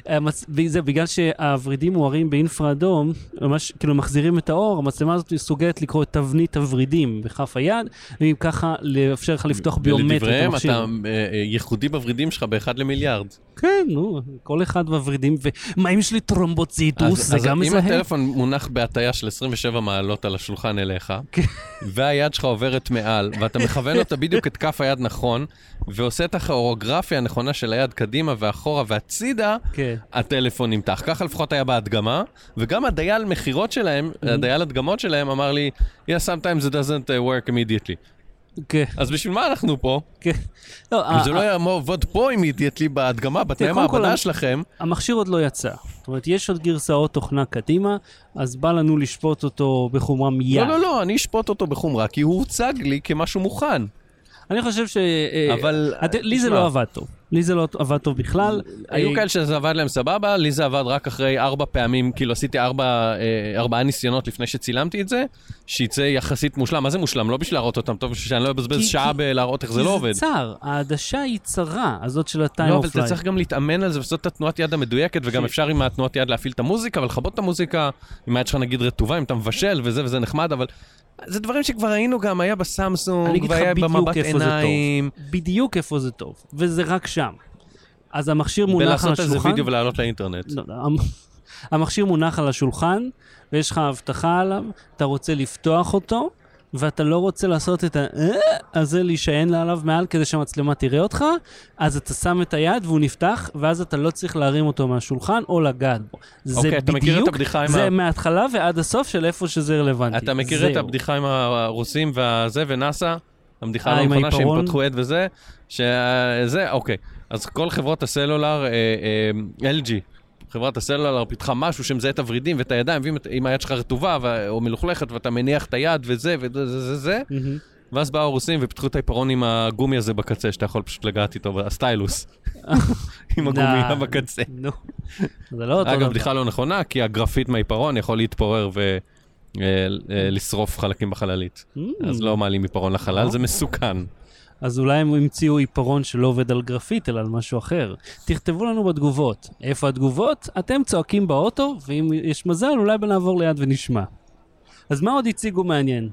Speaker 1: המצ... וזה בגלל שהוורידים מוארים באינפרה אדום, ממש כאילו מחזירים את האור, המצלמה הזאת מסוגלת לקרוא את תבנית הוורידים בכף היד, ואם ככה לאפשר לך לפתוח ביומטרית את
Speaker 2: ולדבריהם,
Speaker 1: המכשיר.
Speaker 2: אתה אה, אה, ייחודי בוורידים שלך באחד למיליארד.
Speaker 1: כן, נו, כל אחד בוורידים, ומה אם יש לי טרומבוציטוס,
Speaker 2: אז-
Speaker 1: זה
Speaker 2: אז
Speaker 1: גם מזהה?
Speaker 2: אם הטלפון מונח בהטיה של 27 מעלות על השולחן אליך,
Speaker 1: כן.
Speaker 2: והיד שלך עוברת מעל, ואתה מכוון אותה בדיוק את כף היד נכון, ועושה את הכוריאוגרפיה הנכונה של היד קדימה ואחורה והצידה,
Speaker 1: כן.
Speaker 2: הטלפון נמתח. ככה לפחות היה בהדגמה, וגם הדייל מכירות שלהם,
Speaker 1: Mm-hmm.
Speaker 2: הדייל הדגמות שלהם אמר לי, yeah, sometimes it doesn't uh, work immediately.
Speaker 1: כן,
Speaker 2: אז בשביל מה אנחנו פה?
Speaker 1: כן. לא,
Speaker 2: אם זה
Speaker 1: ה-
Speaker 2: לא יעמוד פה immediately בהדגמה, בתנאי
Speaker 1: קודם כל,
Speaker 2: המעבדה
Speaker 1: אני-
Speaker 2: שלכם,
Speaker 1: המכשיר עוד לא יצא. זאת אומרת, יש עוד גרסאות תוכנה קדימה, אז בא לנו לשפוט אותו בחומרה מיד.
Speaker 2: לא, לא, לא, אני אשפוט אותו בחומרה, כי הוא הוצג לי כמשהו מוכן.
Speaker 1: אני חושב ש... אה,
Speaker 2: אבל-
Speaker 1: הת- לי זה
Speaker 2: תשמע.
Speaker 1: לא עבד טוב. לי זה לא עבד טוב בכלל.
Speaker 2: היו
Speaker 1: אה,
Speaker 2: כאלה שזה עבד להם סבבה, לי זה עבד רק אחרי ארבע פעמים, כאילו עשיתי ארבע, אה, ארבעה ניסיונות לפני שצילמתי את זה, שיצא יחסית מושלם. מה זה מושלם? לא בשביל להראות אותם טוב, בשביל שאני לא
Speaker 1: כי-
Speaker 2: אבזבז שעה
Speaker 1: כי-
Speaker 2: בלהראות איך
Speaker 1: כי
Speaker 2: זה לא עובד.
Speaker 1: זה צר, העדשה היא צרה, הזאת של ה-time
Speaker 2: לא, אבל
Speaker 1: of
Speaker 2: אתה
Speaker 1: life.
Speaker 2: צריך גם להתאמן על זה ולעשות את התנועת יד המדויקת, וגם אפשר עם התנועת יד להפעיל את המוזיקה ולכבות את המוזיקה, אם היד שלך נגיד רטובה, אם אתה מבשל וזה וזה נחמד, אבל זה דברים שכבר ראינו גם, היה
Speaker 1: אני
Speaker 2: בסמסונג,
Speaker 1: אגיד לך
Speaker 2: והיה
Speaker 1: בדיוק
Speaker 2: במבט
Speaker 1: איפה זה
Speaker 2: עיניים,
Speaker 1: טוב. בדיוק איפה זה טוב, וזה רק שם. אז המכשיר מונח על
Speaker 2: ולעשות על זה
Speaker 1: השולחן.
Speaker 2: וידאו ולהעלות לאינטרנט.
Speaker 1: לא, לא, המ- המכשיר מונח על השולחן, ויש לך הבטחה עליו, אתה רוצה לפתוח אותו, ואתה לא רוצה לעשות את ה... "אה", הזה להישען עליו מעל כדי שהמצלמה תראה אותך, אז אתה שם את היד והוא נפתח, ואז אתה לא צריך להרים אותו מהשולחן או לגעת בו. זה
Speaker 2: אוקיי, אתה מכיר את
Speaker 1: בדיוק
Speaker 2: הבדיחה עם
Speaker 1: זה
Speaker 2: ה-
Speaker 1: מההתחלה ועד הסוף של איפה שזה רלוונטי.
Speaker 2: אתה מכיר את
Speaker 1: זהו.
Speaker 2: הבדיחה עם הרוסים והזה ונאסא? הבדיחה
Speaker 1: אה,
Speaker 2: הלא
Speaker 1: עם
Speaker 2: נכונה שהם
Speaker 1: העיפרון?
Speaker 2: פתחו עד וזה? שזה, אוקיי. אז כל חברות הסלולר, אה, אה, LG, חברת הסלולר פיתחה משהו שמזהה את הוורידים ואת הידיים, ואם את- אם היד שלך רטובה ו- או מלוכלכת ואתה מניח את היד וזה וזה זה זה זה,
Speaker 1: מהמם.
Speaker 2: ואז באו הרוסים ופיתחו את העיפרון עם הגומי הזה בקצה, שאתה יכול פשוט לגעת איתו, הסטיילוס. עם הגומייה
Speaker 1: די,
Speaker 2: בקצה.
Speaker 1: נו. זה לא אותו דבר.
Speaker 2: אגב, בדיחה לא נכונה, כי הגרפית מהעיפרון יכול להתפורר ולשרוף חלקים בחללית.
Speaker 1: Mm.
Speaker 2: אז לא מעלים עיפרון לחלל, זה מסוכן.
Speaker 1: אז אולי הם המציאו עיפרון שלא עובד על גרפית, אלא על משהו אחר. תכתבו לנו בתגובות. איפה התגובות? אתם צועקים באוטו, ואם יש מזל, אולי נעבור ליד ונשמע. אז מה עוד הציגו מעניין?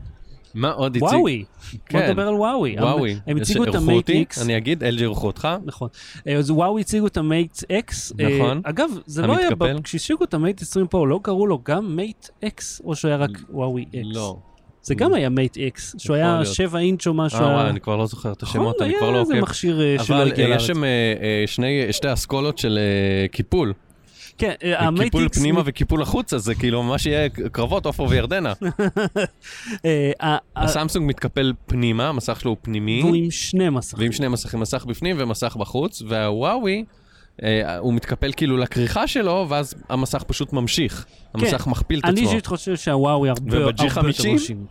Speaker 2: מה עוד הציג?
Speaker 1: וואוי. בוא
Speaker 2: כן.
Speaker 1: נדבר על וואוי.
Speaker 2: וואוי.
Speaker 1: הם- הם הציגו את
Speaker 2: אירחו
Speaker 1: המייט
Speaker 2: אותי,
Speaker 1: איקס.
Speaker 2: אני אגיד, LG אירחו אותך.
Speaker 1: נכון. אה, אז וואו הציגו את המייט אקס. אה,
Speaker 2: נכון.
Speaker 1: אגב, זה לא היה...
Speaker 2: המתקפל.
Speaker 1: ב- כשהשיגו את המייט 20 פה, לא קראו לו גם מייט אקס, או שהוא היה רק וואוי אקס?
Speaker 2: לא.
Speaker 1: זה גם היה מייט איקס, שהוא היה
Speaker 2: להיות.
Speaker 1: 7 אינץ' או משהו.
Speaker 2: אה, וואי, אני כבר לא זוכר את השמות, אני כבר לא
Speaker 1: נכון, היה
Speaker 2: עוקב.
Speaker 1: איזה מכשיר אה, שלא
Speaker 2: אבל
Speaker 1: הגיע
Speaker 2: אה,
Speaker 1: לארץ.
Speaker 2: יש שם אה, אה, שני- שתי אסכולות של אה, קיפול.
Speaker 1: כן, אה, המייט
Speaker 2: קיפול
Speaker 1: איקס...
Speaker 2: פנימה וקיפול החוצה, זה כאילו ממש יהיה קרבות עופר וירדנה.
Speaker 1: אה, ה- ה-
Speaker 2: הסמסונג מתקפל פנימה, המסך שלו הוא פנימי,
Speaker 1: והוא עם שני מסכים.
Speaker 2: ועם שני מסכים, מסך בפנים ומסך בחוץ, והוואוי, אה, הוא מתקפל כאילו לכריכה שלו, ואז המסך פשוט ממשיך. המסך מכפיל את
Speaker 1: כן. אני
Speaker 2: עצמו.
Speaker 1: אישית חושב שהוואו היא הרבה הרבה
Speaker 2: וב-G50?
Speaker 1: יותר מרשים.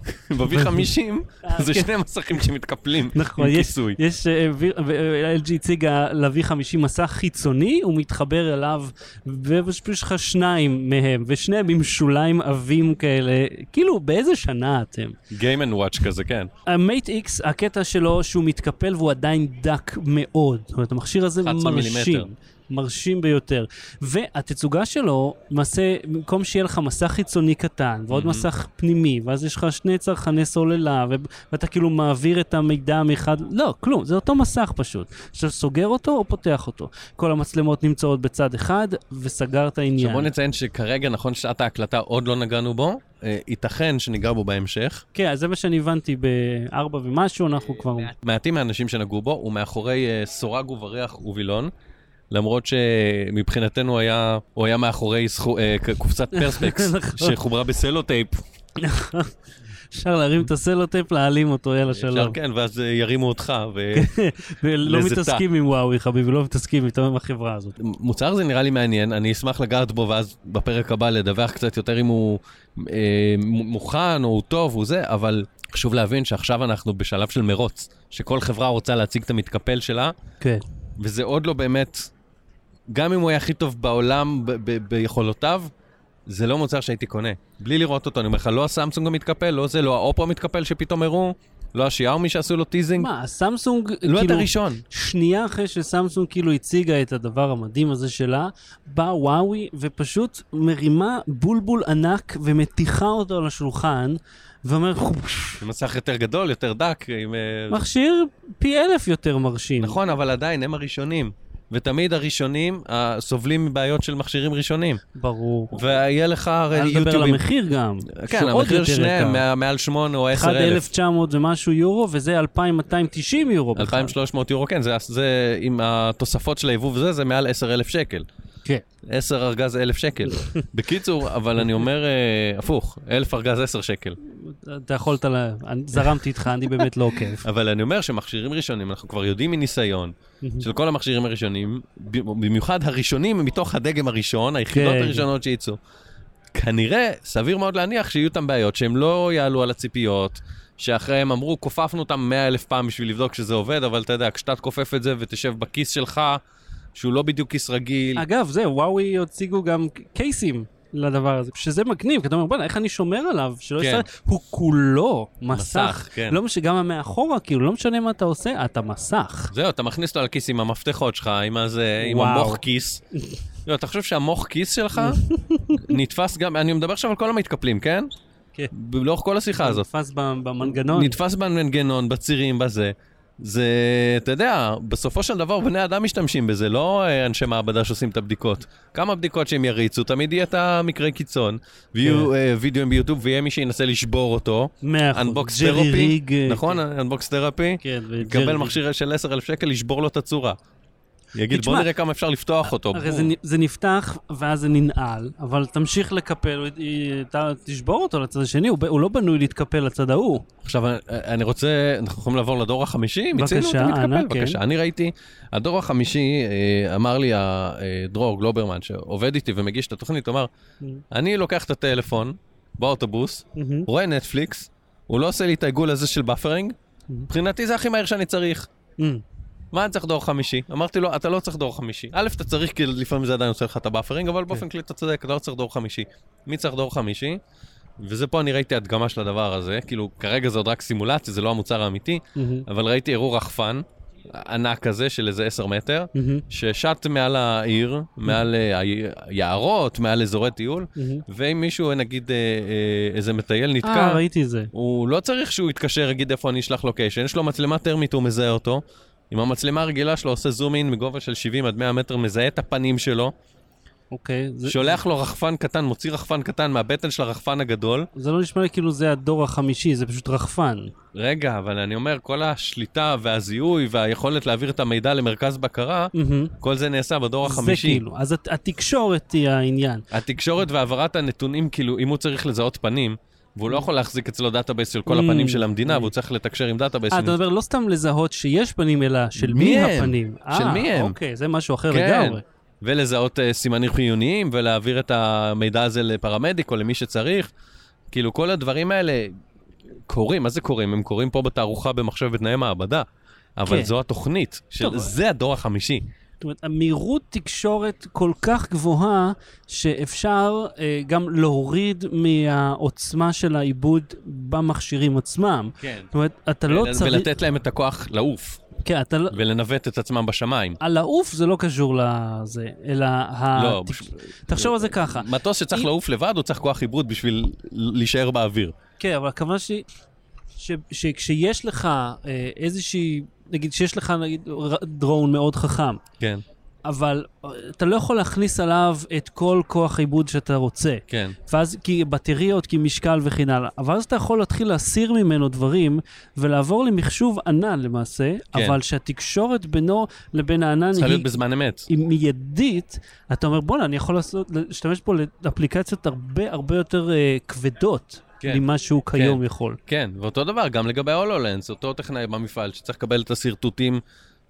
Speaker 2: ב-V50 זה
Speaker 1: כן.
Speaker 2: שני מסכים שמתקפלים
Speaker 1: נכון,
Speaker 2: עם
Speaker 1: יש-
Speaker 2: כיסוי.
Speaker 1: יש, אה, ו- ו- LG הציגה ל-V50 מסך חיצוני, הוא מתחבר אליו, ויש לך שניים מהם, ושניהם עם שוליים עבים כאלה, כאילו באיזה שנה אתם?
Speaker 2: Game and Watch כזה, כן.
Speaker 1: המייט איקס, הקטע שלו שהוא מתקפל והוא עדיין דק מאוד. זאת אומרת, המכשיר הזה
Speaker 2: 11
Speaker 1: מרשים.
Speaker 2: מילימטר.
Speaker 1: מרשים ביותר. והתצוגה שלו, למעשה, במקום שיהיה לך מסך חיצוני קטן, ועוד מסך פנימי, ואז יש לך שני צרכני סוללה, ו- ואתה כאילו מעביר את המידע מאחד... לא, כלום, זה אותו מסך פשוט. עכשיו סוגר אותו או פותח אותו. כל המצלמות נמצאות בצד אחד, וסגרת
Speaker 2: עכשיו
Speaker 1: עניין.
Speaker 2: בוא נציין שכרגע, נכון שעת ההקלטה עוד לא נגענו בו, אה, ייתכן שניגע בו בהמשך.
Speaker 1: כן, אז זה מה שאני הבנתי בארבע ומשהו, אנחנו כבר...
Speaker 2: אה, מעטים מהאנשים שנגעו בו, הוא מאחורי אה, סורג ובריח ווילון, למרות שמבחינתנו היה, הוא היה מאחורי סחו, אה, ק- קופסת פרספקס,
Speaker 1: נכון.
Speaker 2: שחוברה בסלוטייפ.
Speaker 1: אפשר להרים את הסלוטייפ, להעלים אותו, יאללה,
Speaker 2: אפשר,
Speaker 1: שלום.
Speaker 2: כן, ואז אה, ירימו אותך. ו...
Speaker 1: ולא
Speaker 2: לזיתה.
Speaker 1: לא מתעסקים עם וואוי חביבי, לא מתעסקים איתם עם החברה הזאת.
Speaker 2: מוצר זה נראה לי מעניין, אני אשמח לגעת בו ואז בפרק הבא לדווח קצת יותר אם הוא אה, מ- מוכן או הוא טוב או זה, אבל חשוב להבין שעכשיו אנחנו בשלב של מרוץ, שכל חברה רוצה להציג את המתקפל שלה,
Speaker 1: כן.
Speaker 2: וזה עוד לא באמת, גם אם הוא היה הכי טוב בעולם ב- ב- ביכולותיו, זה לא מוצר שהייתי קונה. בלי לראות אותו, אני אומר לך, לא הסמסונג המתקפל, לא זה, לא האופו המתקפל שפתאום הראו, לא השיאומי שעשו לו טיזינג,
Speaker 1: מה, הסמסונג,
Speaker 2: לא את
Speaker 1: כאילו,
Speaker 2: הראשון.
Speaker 1: שנייה אחרי שסמסונג כאילו הציגה את הדבר המדהים הזה שלה, באה וואוי ופשוט מרימה בולבול ענק ומטיחה אותו על השולחן, ואומר, "חופש,
Speaker 2: עם מסך יותר גדול, יותר דק, עם... אה,
Speaker 1: מכשיר פי אלף יותר מרשים.
Speaker 2: נכון, אבל עדיין, הם הראשונים. ותמיד הראשונים אה, סובלים מבעיות של מכשירים ראשונים.
Speaker 1: ברור.
Speaker 2: ויהיה לך הרי
Speaker 1: אל תדבר על
Speaker 2: יוטיובים.
Speaker 1: המחיר גם.
Speaker 2: כן,
Speaker 1: שהוא עוד
Speaker 2: המחיר
Speaker 1: יותר
Speaker 2: שניהם
Speaker 1: יקר.
Speaker 2: מע- מעל 8 או 10
Speaker 1: אחד
Speaker 2: אלף.
Speaker 1: 1,900 ומשהו יורו, וזה 2,290 יורו בכלל.
Speaker 2: 2,300 יורו, כן, זה- זה עם התוספות של היבוא וזה, זה מעל 10 אלף שקל.
Speaker 1: כן.
Speaker 2: 10 ארגז 1,000 שקל. בקיצור, אבל אני אומר, אה, הפוך, 1,000 ארגז 10 שקל.
Speaker 1: אתה יכולת, לה- אני- זרמתי איתך, אני באמת לא עוקב.
Speaker 2: אבל אני אומר שמכשירים ראשונים, אנחנו כבר יודעים מניסיון, של כל המכשירים הראשונים, ב- במיוחד הראשונים מתוך הדגם הראשון, היחידות
Speaker 1: כן.
Speaker 2: הראשונות שייצאו. כנראה, סביר מאוד להניח שיהיו אותם בעיות, שהם לא יעלו על הציפיות, שאחריהם אמרו, כופפנו אותם 100 אלף פעם בשביל לבדוק שזה עובד, אבל אתה יודע, כשאתה תכופף את זה ותשב בכיס שלך, שהוא לא בדיוק כיס רגיל,
Speaker 1: אגב, זה, וואוי הציגו גם קייסים לדבר הזה, שזה מגניב, כי אתה אומר, בוא'נה, איך אני שומר עליו? שלא
Speaker 2: כן.
Speaker 1: ישראל, הוא כולו מסך.
Speaker 2: מסך, כן.
Speaker 1: לא משנה, גם המאחורה, כאילו, לא משנה מה אתה עושה, אתה מסך.
Speaker 2: זהו, אתה מכניס אותו לכיס עם המפתחות שלך, עם הזה, עם
Speaker 1: וואו.
Speaker 2: המוח כיס. לא, אתה חושב שהמוח כיס שלך נתפס גם, אני מדבר עכשיו על כל המתקפלים, כן?
Speaker 1: כן.
Speaker 2: ב- לאורך כל השיחה הזאת.
Speaker 1: נתפס ב- במנגנון.
Speaker 2: נתפס במנגנון, בצירים, בזה. זה, אתה יודע, בסופו של דבר בני אדם משתמשים בזה, לא אה, אנשי מעבדה שעושים את הבדיקות. כמה בדיקות שהם יריצו, תמיד יהיה את המקרי קיצון,
Speaker 1: כן.
Speaker 2: ויהיו אה, וידאוים ביוטיוב, ויהיה מי שינסה לשבור אותו.
Speaker 1: מאה אחוז.
Speaker 2: אנבוקס
Speaker 1: נכון. ג'רי
Speaker 2: תרפי,
Speaker 1: ריג, אה,
Speaker 2: נכון? אנבוקס תרפי.
Speaker 1: כן, וג'רי
Speaker 2: יקבל
Speaker 1: ריג.
Speaker 2: מכשיר של 10,000 שקל, לשבור לו את הצורה. יגיד, בוא
Speaker 1: תשמע,
Speaker 2: נראה כמה אפשר לפתוח אותו.
Speaker 1: הרי זה, נ- זה נפתח ואז זה ננעל, אבל תמשיך לקפל, הוא- היא- אתה תשבור אותו לצד השני, הוא, ב- הוא לא בנוי להתקפל לצד ההוא.
Speaker 2: עכשיו, אני- אני רוצה, אנחנו יכולים לעבור לדור החמישי? מיצינו את
Speaker 1: בבקשה, אנא,
Speaker 2: המתקפל,
Speaker 1: כן.
Speaker 2: בבקשה. אני ראיתי, הדור החמישי, אה, אמר לי ה- אה, דרור גלוברמן, שעובד איתי ומגיש את התוכנית, הוא אמר,
Speaker 1: Mm.
Speaker 2: אני לוקח את הטלפון באוטובוס, רואה נטפליקס, הוא לא עושה לי את העיגול הזה של באפרינג, מבחינתי זה הכי מהר שאני צריך.
Speaker 1: Mm.
Speaker 2: מה אני צריך דור חמישי? אמרתי לו, אתה לא צריך דור חמישי. א', אתה צריך, כי לפעמים זה עדיין עושה לך את הבאפרינג,
Speaker 1: כן.
Speaker 2: אבל באופן כללי אתה צודק, אתה לא צריך דור חמישי. מי צריך דור חמישי? וזה פה אני ראיתי הדגמה של הדבר הזה, כאילו, כרגע זה עוד רק סימולציה, זה לא המוצר האמיתי,
Speaker 1: מהמם.
Speaker 2: אבל ראיתי אירוע רחפן ענק כזה של איזה 10 מטר,
Speaker 1: מהמם.
Speaker 2: ששט מעל העיר, מעל אה, היערות, מעל אזורי טיול,
Speaker 1: מהמם.
Speaker 2: ואם מישהו, נגיד, אה, אה, איזה מטייל
Speaker 1: אה,
Speaker 2: נתקע,
Speaker 1: ראיתי זה.
Speaker 2: הוא לא צריך שהוא יתקשר, יגיד איפה אני אשלח לוקיישן, יש לו מצלמה טרמית, הוא מזהה אותו. עם המצלמה הרגילה שלו עושה זום אין מגובה של 70 עד 100 מטר, מזהה את הפנים שלו.
Speaker 1: אוקיי. זה-
Speaker 2: שולח לו רחפן קטן, מוציא רחפן קטן מהבטן של הרחפן הגדול.
Speaker 1: זה לא נשמע לי כאילו זה הדור החמישי, זה פשוט רחפן.
Speaker 2: רגע, אבל אני אומר, כל השליטה והזיהוי והיכולת להעביר את המידע למרכז בקרה,
Speaker 1: מהמם.
Speaker 2: כל זה נעשה בדור
Speaker 1: זה
Speaker 2: החמישי.
Speaker 1: כאילו, אז הת- התקשורת היא העניין. אה,
Speaker 2: התקשורת והעברת הנתונים, כאילו, אם הוא צריך לזהות פנים, והוא לא יכול להחזיק אצלו דאטאבייס של כל
Speaker 1: Mm.
Speaker 2: הפנים של המדינה, והוא צריך לתקשר עם דאטאבייס.
Speaker 1: אה,
Speaker 2: עם-
Speaker 1: אתה מדבר לא סתם לזהות שיש פנים, אלא של
Speaker 2: מי
Speaker 1: מי
Speaker 2: הם?
Speaker 1: הפנים.
Speaker 2: של
Speaker 1: אה,
Speaker 2: מי הם?
Speaker 1: אוקיי, זה משהו אחר
Speaker 2: כן.
Speaker 1: לגמרי.
Speaker 2: ולזהות אה, סימנים חיוניים, ולהעביר את המידע הזה לפרמדיק או למי שצריך. כאילו, כל הדברים האלה קורים, מה זה קורים? הם קורים פה בתערוכה במחשב בתנאי מעבדה. אבל
Speaker 1: כן.
Speaker 2: זו התוכנית, של...
Speaker 1: טוב.
Speaker 2: זה הדור החמישי.
Speaker 1: זאת אומרת, המהירות תקשורת כל כך גבוהה, שאפשר אה, גם להוריד מהעוצמה של העיבוד במכשירים עצמם.
Speaker 2: כן.
Speaker 1: זאת אומרת, אתה לא
Speaker 2: ול-
Speaker 1: צריך...
Speaker 2: ולתת להם את הכוח לעוף,
Speaker 1: כן, אתה לא...
Speaker 2: ולנווט את עצמם בשמיים.
Speaker 1: על לעוף זה לא קשור לזה, אלא... ה-
Speaker 2: לא,
Speaker 1: ת-
Speaker 2: בש-
Speaker 1: תחשוב על זה ככה.
Speaker 2: מטוס שצריך
Speaker 1: אם-
Speaker 2: לעוף לבד, הוא צריך כוח עיבוד בשביל להישאר באוויר.
Speaker 1: כן, אבל הכוונה שלי, ש- שכשיש לך אה, איזושהי, נגיד שיש לך נגיד ר- דרון מאוד חכם,
Speaker 2: כן,
Speaker 1: אבל אה, אתה לא יכול להכניס עליו את כל כוח עיבוד שאתה רוצה.
Speaker 2: כן.
Speaker 1: ואז כי בטריות, כי משקל וכן הלאה. אבל אז אתה יכול להתחיל להסיר ממנו דברים ולעבור למחשוב ענן למעשה,
Speaker 2: כן.
Speaker 1: אבל שהתקשורת בינו לבין הענן
Speaker 2: צריך להיות
Speaker 1: היא...
Speaker 2: בזמן אמת.
Speaker 1: היא מיידית, אתה אומר, בואנה, אני יכול לעשות, להשתמש פה לאפליקציות הרבה הרבה יותר אה, כבדות
Speaker 2: כן.
Speaker 1: ממה שהוא כיום יכול.
Speaker 2: כן, ואותו דבר גם לגבי הולולנס, אותו טכנאי במפעל שצריך לקבל את השרטוטים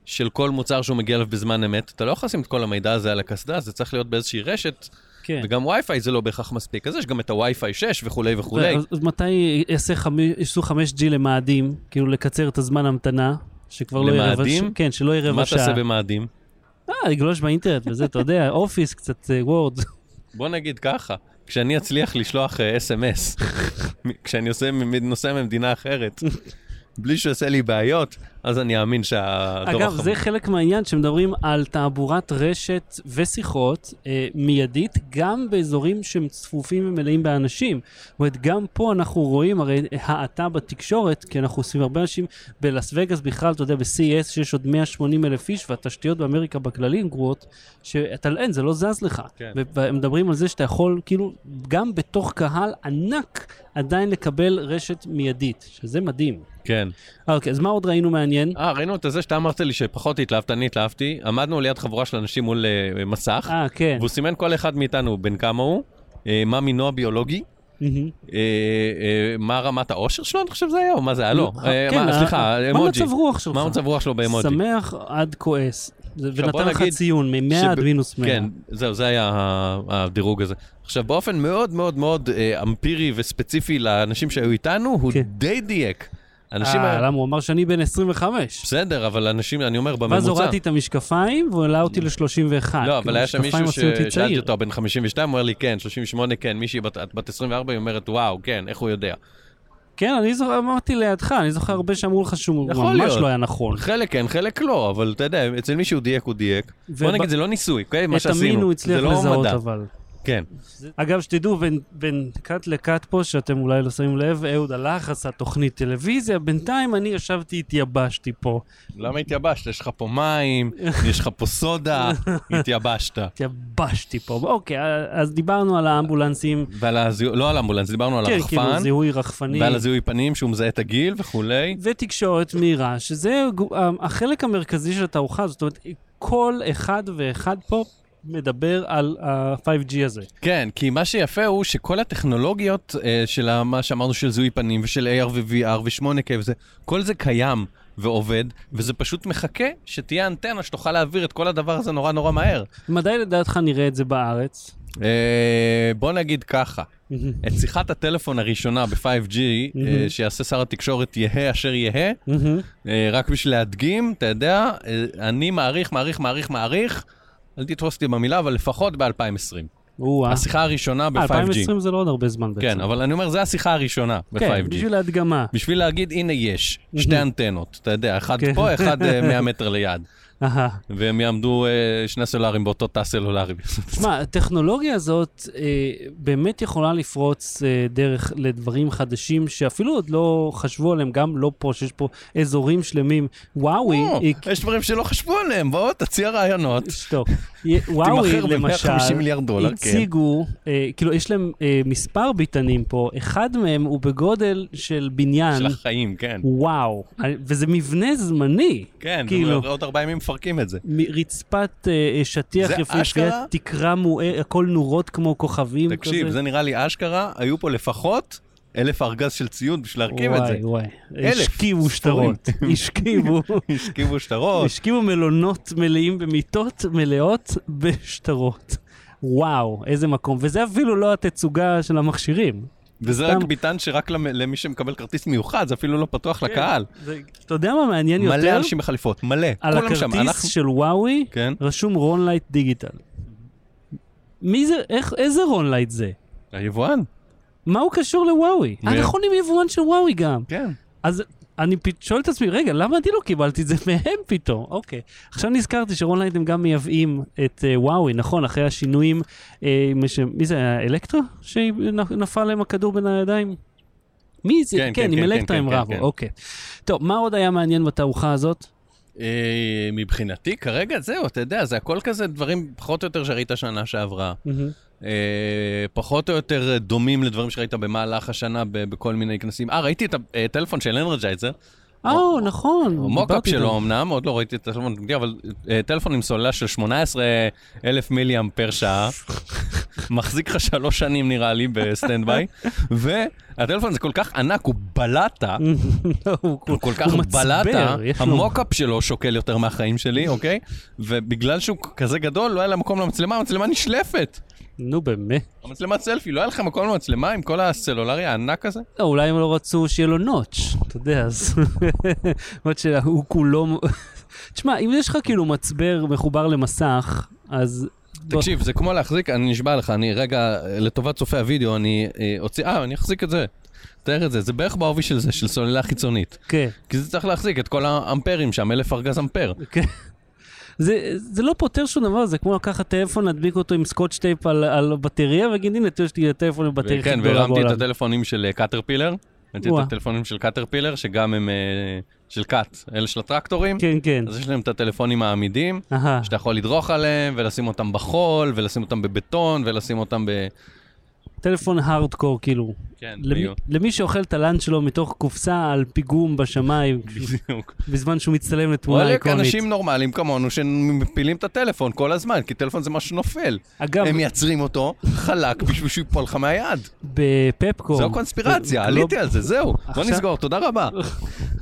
Speaker 2: של כל מוצר שהוא מגיע אליו בזמן אמת, אתה לא יכול לשים את כל המידע הזה על הקסדה, זה צריך להיות באיזושהי רשת,
Speaker 1: כן.
Speaker 2: וגם וי-פיי זה לא בהכרח מספיק, אז יש גם את הווי-פיי 6 וכולי וכולי.
Speaker 1: אז אז מתי יעשה חמי- יעשו 5G למאדים, כאילו לקצר את הזמן המתנה, שכבר לא יהיה רבע
Speaker 2: למאדים?
Speaker 1: שעה? כן, שלא יהיה
Speaker 2: מה
Speaker 1: רבע שעה.
Speaker 2: תעשה במאדים?
Speaker 1: אה, לגלוש באינטרנט וזה, אתה יודע, אופיס קצת, אה, וורד.
Speaker 2: בוא נגיד ככה, כשאני אצליח לשלוח אה, אס.אם.אס, כשאני עושה מ- נוסע ממדינה אחרת, בלי שהוא יעשה לי בעיות, אז אני אאמין שהדור
Speaker 1: אגב, זה חלק מהעניין שמדברים על תעבורת רשת ושיחות אה, מיידית, גם באזורים שהם צפופים ומלאים באנשים. זאת אומרת, גם פה אנחנו רואים הרי האטה בתקשורת, כי אנחנו עושים הרבה אנשים, בלאס וגאס בכלל, אתה יודע, ב-CES שיש עוד 180 אלף איש, והתשתיות באמריקה בכללי הן גרועות, שאתה, אין, זה לא זז לך.
Speaker 2: כן.
Speaker 1: ו- והם מדברים על זה שאתה יכול, כאילו, גם בתוך קהל ענק, עדיין לקבל רשת מיידית, שזה מדהים.
Speaker 2: כן.
Speaker 1: אה, אוקיי, אז מה עוד ראינו מעניין?
Speaker 2: אה, ראינו את זה שאתה אמרת לי שפחות התלהבת, אני התלהבתי. עמדנו ליד חבורה של אנשים מול אה, מסך,
Speaker 1: אה, כן.
Speaker 2: והוא סימן כל אחד מאיתנו בן כמה הוא, אה, מה מינו הביולוגי,
Speaker 1: מהמם.
Speaker 2: אה, אה, מה רמת האושר שלו, אני חושב זה היה, או מה זה היה? לא.
Speaker 1: נו,
Speaker 2: אה,
Speaker 1: כן,
Speaker 2: מה-
Speaker 1: ה-
Speaker 2: סליחה, אמוג'י.
Speaker 1: מה מצב רוח שלך?
Speaker 2: מה מצב רוח שלו באמוג'י?
Speaker 1: שמח עד כועס. זה-
Speaker 2: עכשיו, בוא
Speaker 1: ונתן לך
Speaker 2: נגיד
Speaker 1: ציון, מ-100 עד
Speaker 2: שב-
Speaker 1: מינוס 100.
Speaker 2: כן, זהו, זה היה ה- הדירוג הזה. עכשיו, באופן מאוד מאוד מאוד אה, אמפירי וספציפי לאנשים שהיו איתנו, הוא
Speaker 1: כן.
Speaker 2: די דייק. אנשים...
Speaker 1: אה,
Speaker 2: ה-
Speaker 1: למה? הוא אמר שאני בן 25.
Speaker 2: בסדר, אבל אנשים, אני אומר,
Speaker 1: ואז
Speaker 2: בממוצע.
Speaker 1: הורדתי את המשקפיים, והוא העלה אותי כאילו, ל-31.
Speaker 2: לא, אבל היה שם מישהו ששאלתי אותו, בן 52, הוא אומר לי, כן, 38, כן, מישהי בת, את בת 24, היא אומרת, וואו, כן, איך הוא יודע?
Speaker 1: כן, אני זוכר, אמרתי לידך, אני זוכר הרבה שאמרו לך שהוא
Speaker 2: יכול
Speaker 1: ממש
Speaker 2: להיות.
Speaker 1: לא היה נכון.
Speaker 2: חלק כן, חלק לא, אבל אתה יודע, אצל מישהו דייק הוא דייק.
Speaker 1: וב-
Speaker 2: בוא נגיד, זה לא ניסוי, אוקיי? מה
Speaker 1: את
Speaker 2: שעשינו.
Speaker 1: המין הוא הצליח
Speaker 2: זה לא
Speaker 1: לזהות,
Speaker 2: מדע.
Speaker 1: אבל.
Speaker 2: כן.
Speaker 1: אגב, שתדעו, בין, בין כת לכת פה, שאתם אולי לא שמים לב, אהוד הלך, עשה תוכנית טלוויזיה, בינתיים אני ישבתי, התייבשתי פה.
Speaker 2: למה התייבשת? יש לך פה מים, יש לך פה סודה, התייבשת.
Speaker 1: התייבשתי פה. אוקיי, אז דיברנו על האמבולנסים.
Speaker 2: ועל הזיהוי, לא על אמבולנס, דיברנו על
Speaker 1: כן, כאילו
Speaker 2: הרחפן,
Speaker 1: זיהוי רחפני.
Speaker 2: ועל הזיהוי פנים שהוא מזהה את הגיל וכולי.
Speaker 1: ותקשורת מהירה, שזה גו- ה- החלק המרכזי של התערוכה הזאת. זאת אומרת, כל אחד ואחד פה מדבר על ה-5G הזה.
Speaker 2: כן, כי מה שיפה הוא שכל הטכנולוגיות אה, של ה- מה שאמרנו של זיהוי פנים ושל AR ו-VR ו-8K וזה, כל זה קיים ועובד, וזה פשוט מחכה שתהיה אנטנה שתוכל להעביר את כל הדבר הזה נורא נורא מהר.
Speaker 1: מתי לדעתך נראה את זה בארץ?
Speaker 2: אה, בוא נגיד ככה, את שיחת הטלפון הראשונה ב-5G אה,
Speaker 1: מהמם.
Speaker 2: שיעשה שר התקשורת יהא אשר יהא,
Speaker 1: מהמם.
Speaker 2: אה, רק בשביל להדגים, אתה יודע, אה, אני מעריך, מעריך, מעריך, מעריך, אל תתפוס אותי במילה, אבל לפחות ב-2020.
Speaker 1: או-אה.
Speaker 2: השיחה הראשונה ב-5G.
Speaker 1: 2020 אה, זה לא עוד הרבה זמן בעצם.
Speaker 2: כן, אבל אני אומר, זו השיחה הראשונה
Speaker 1: כן,
Speaker 2: ב-5G.
Speaker 1: בשביל ההדגמה.
Speaker 2: בשביל להגיד, הנה יש, שתי אנטנות, אתה יודע, אחד
Speaker 1: כן.
Speaker 2: פה, אחד אה, 100 מטר ליד.
Speaker 1: אהה.
Speaker 2: והם יעמדו אה, שני סלולרים באותו תא סלולרי.
Speaker 1: תשמע, הטכנולוגיה הזאת אה, באמת יכולה לפרוץ אה, דרך לדברים חדשים שאפילו עוד לא חשבו עליהם, גם לא פה, שיש פה אזורים שלמים. וואוי,
Speaker 2: או,
Speaker 1: היא...
Speaker 2: יש דברים שלא חשבו עליהם, בוא תציע רעיונות.
Speaker 1: שתוק. היא- וואוי,
Speaker 2: תימכר ב- 150
Speaker 1: למשל,
Speaker 2: מיליארד דולר, כן.
Speaker 1: הציגו, אה, כאילו, יש להם אה, מספר ביתנים פה, אחד מהם הוא בגודל של בניין.
Speaker 2: של החיים, כן.
Speaker 1: וואו, אה, וזה מבנה זמני.
Speaker 2: כן,
Speaker 1: כאילו.
Speaker 2: עוד ארבעה ימים מפרקים את זה.
Speaker 1: מ- רצפת אה, אה, שטיח
Speaker 2: זה
Speaker 1: יפהפייה,
Speaker 2: אשכרה?
Speaker 1: תקרה מוארת, הכל נורות כמו כוכבים כאילו כזה.
Speaker 2: תקשיב, זה נראה לי אשכרה, היו פה לפחות אלף ארגז של ציוד בשביל להרכיב את זה.
Speaker 1: וואי, וואי.
Speaker 2: אלף
Speaker 1: השכיבו
Speaker 2: ספורים.
Speaker 1: שטרות, השכיבו,
Speaker 2: השכיבו שטרות,
Speaker 1: השכיבו מלונות מלאים במיטות מלאות בשטרות. וואו, איזה מקום. וזה אפילו לא התצוגה של המכשירים.
Speaker 2: וזה רק
Speaker 1: סתם.
Speaker 2: ביטן שרק למ- למי שמקבל כרטיס מיוחד, זה אפילו לא פתוח
Speaker 1: כן.
Speaker 2: לקהל.
Speaker 1: זה- אתה יודע מה מעניין יותר?
Speaker 2: מלא אנשים בחליפות, מלא.
Speaker 1: על
Speaker 2: כולם שם,
Speaker 1: הכרטיס
Speaker 2: אנחנו-
Speaker 1: של וואוי
Speaker 2: כן.
Speaker 1: רשום רון לייט דיגיטל. מי זה, איך, איזה רון לייט זה?
Speaker 2: היבואן.
Speaker 1: מה הוא קשור לוואוי?
Speaker 2: מי-
Speaker 1: אנחנו עם יבואן של וואוי גם.
Speaker 2: כן.
Speaker 1: אז אני פ- שואל את עצמי, רגע, למה אני לא קיבלתי את זה מהם פתאום? אוקיי. עכשיו נזכרתי שרון לייט הם גם מייבאים את אה, וואוי, נכון, אחרי השינויים, אה, מש- מי זה, היה אלקטרה? שנפל להם הכדור בין הידיים? מי זה?
Speaker 2: כן,
Speaker 1: כן,
Speaker 2: כן,
Speaker 1: עם
Speaker 2: כן,
Speaker 1: אלקטרה
Speaker 2: כן,
Speaker 1: הם
Speaker 2: כן,
Speaker 1: רבו,
Speaker 2: כן.
Speaker 1: אוקיי. טוב, מה עוד היה מעניין בתערוכה הזאת?
Speaker 2: אה, מבחינתי כרגע זהו, אתה יודע, זה הכל כזה דברים פחות או יותר שראית שנה שעברה. אה, פחות או יותר דומים לדברים שראית במהלך השנה ב- בכל מיני כנסים. אה, ראיתי את הטלפון של אנרג'ייזר,
Speaker 1: או, נכון.
Speaker 2: מוקאפ
Speaker 1: דיברתי
Speaker 2: שלו
Speaker 1: איתו.
Speaker 2: אמנם, עוד לא ראיתי את הטלפון, המקורי, אבל אה, טלפון עם סוללה של 18 אלף מיליאם פר שעה, מחזיק לך שלוש שנים נראה לי בסטנד ביי, והטלפון הזה כל כך ענק, הוא בלטה.
Speaker 1: הוא
Speaker 2: הוא כל כך
Speaker 1: מצבר,
Speaker 2: בלטה,
Speaker 1: יש לו-
Speaker 2: המוקאפ שלו שוקל יותר מהחיים שלי, אוקיי? ובגלל שהוא כזה גדול, לא היה לה מקום למצלמה, המצלמה נשלפת.
Speaker 1: נו באמת.
Speaker 2: המצלמת סלפי, לא היה לך מקום למצלמה עם כל הסלולרי הענק הזה?
Speaker 1: לא, אולי הם לא רצו שיהיה לו נוטש, אתה יודע, אז... למרות שהוא כולו... תשמע, אם יש לך כאילו מצבר מחובר למסך, אז... בוא-
Speaker 2: תקשיב, זה כמו להחזיק, אני נשבע לך, אני רגע, אה, לטובת צופי הוידאו, אני אה, אוציא, אה, אני אחזיק את זה. תאר את זה, זה בערך בעובי של זה, של סוללה חיצונית.
Speaker 1: כן,
Speaker 2: כי זה צריך להחזיק את כל האמפרים שם, אלף ארגז אמפר.
Speaker 1: כן. זה, זה לא פותר שום דבר, זה כמו לקחת טלפון, להדביק אותו עם סקוטש טייפ על, על בטריה, ולהגיד, הנה, תראה, יש לי טלפון עם בטריה
Speaker 2: כן,
Speaker 1: הכי גדולה
Speaker 2: והרמתי את
Speaker 1: בעולם.
Speaker 2: הטלפונים של אה, קטרפילר. ראיתי
Speaker 1: וואו.
Speaker 2: את הטלפונים של קטרפילר, שגם הם אה, של קאט, אלה של הטרקטורים.
Speaker 1: כן, כן.
Speaker 2: אז יש להם את הטלפונים העמידים,
Speaker 1: אהה.
Speaker 2: שאתה יכול לדרוך עליהם, ולשים אותם בחול, ולשים אותם בבטון, ולשים אותם ב...
Speaker 1: טלפון הארדקור, כאילו.
Speaker 2: כן,
Speaker 1: למי, למי שאוכל את הלאנץ' שלו מתוך קופסה על פיגום בשמיים,
Speaker 2: בדיוק.
Speaker 1: בזמן שהוא מצטלם לתמונה
Speaker 2: וואלה,
Speaker 1: איקונית.
Speaker 2: אנשים נורמליים כמונו שמפילים את הטלפון כל הזמן, כי טלפון זה משהו שנופל.
Speaker 1: אגב,
Speaker 2: הם מייצרים אותו חלק בשביל שהוא ייפול לך מהיד.
Speaker 1: בפפקום...
Speaker 2: זו קונספירציה, עליתי על זה, זהו. בוא
Speaker 1: עכשיו-
Speaker 2: נסגור, תודה רבה.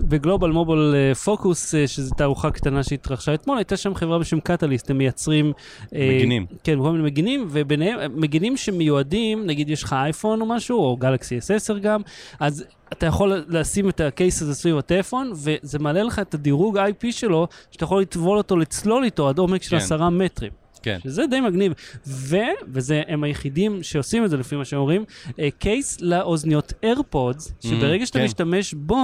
Speaker 1: בגלובל מובול אה, פוקוס, אה, שזו תערוכה קטנה שהתרחשה אתמול, הייתה שם חברה בשם קטליסט, הם מייצרים... אה,
Speaker 2: מגינים.
Speaker 1: כן, כל מיני מגינים, וביניהם אה, מגינים שמיועדים, נגיד יש לך אייפון או משהו, או גלקסי S10 גם, אז אתה יכול לשים את הקייס הזה סביב הטלפון, וזה מעלה לך את הדירוג IP שלו, שאתה יכול לטבול אותו, לצלול איתו עד עומק של
Speaker 2: כן.
Speaker 1: עשרה מטרים.
Speaker 2: כן.
Speaker 1: שזה די מגניב. ו, וזה הם היחידים שעושים את זה לפי מה שהם אומרים, אה, קייס לאוזניות איירפודס, שברגע שאתה
Speaker 2: כן.
Speaker 1: משתמש בו,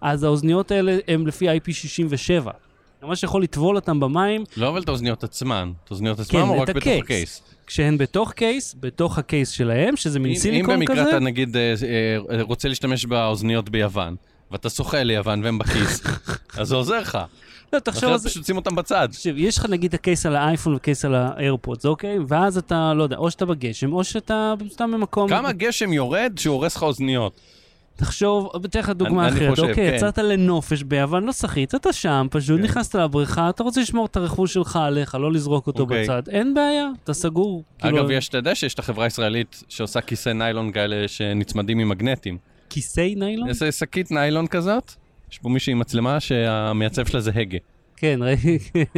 Speaker 1: אז האוזניות האלה הן לפי IP67. אתה ממש יכול לטבול אותן במים,
Speaker 2: לא אבל את האוזניות עצמן, את האוזניות עצמן או
Speaker 1: כן, את
Speaker 2: רק בתוך
Speaker 1: הקייס.
Speaker 2: הקייס.
Speaker 1: כשהן בתוך קייס, בתוך הקייס שלהם, שזה מין
Speaker 2: אם- אם
Speaker 1: סיליקון כזה. לא,
Speaker 2: במקרה אתה נגיד אה, אה, רוצה להשתמש באוזניות ביוון, ואתה שוחה ליוון והם בכיס, אז זה עוזר לך.
Speaker 1: לא, תחשוב על
Speaker 2: אחרת
Speaker 1: זה.
Speaker 2: פשוט שים אותם בצד.
Speaker 1: תקשיב, יש לך נגיד הקייס על האייפון וקייס על האיירפודס, אוקיי? ואז אתה, לא יודע, או שאתה בגשם, או שאתה סתם במקום...
Speaker 2: כמה גשם יורד שהוא הורס לך אוזניות?
Speaker 1: תחשוב, אתן לך דוגמה
Speaker 2: אני- אני
Speaker 1: אחרת,
Speaker 2: חושב,
Speaker 1: אוקיי,
Speaker 2: כן.
Speaker 1: יצאת לנופש ביוון, לא שחית, אתה שם, פשוט נכנסת לבריכה, אתה רוצה לשמור את הרכוש שלך עליך, לא לזרוק אותו
Speaker 2: אוקיי.
Speaker 1: בצד, אין בעיה, אתה סגור.
Speaker 2: אגב,
Speaker 1: כאילו,
Speaker 2: יש, אתה יודע שיש את החברה הישראלית שעושה כיסי ניילון כאלה שנצמדים עם מגנטים.
Speaker 1: אה. כיסי ניילון?
Speaker 2: איזה שקית ניילון כזאת, יש פה מישהי עם מצלמה שהמייצב שלה זה הגה.
Speaker 1: כן, ראי,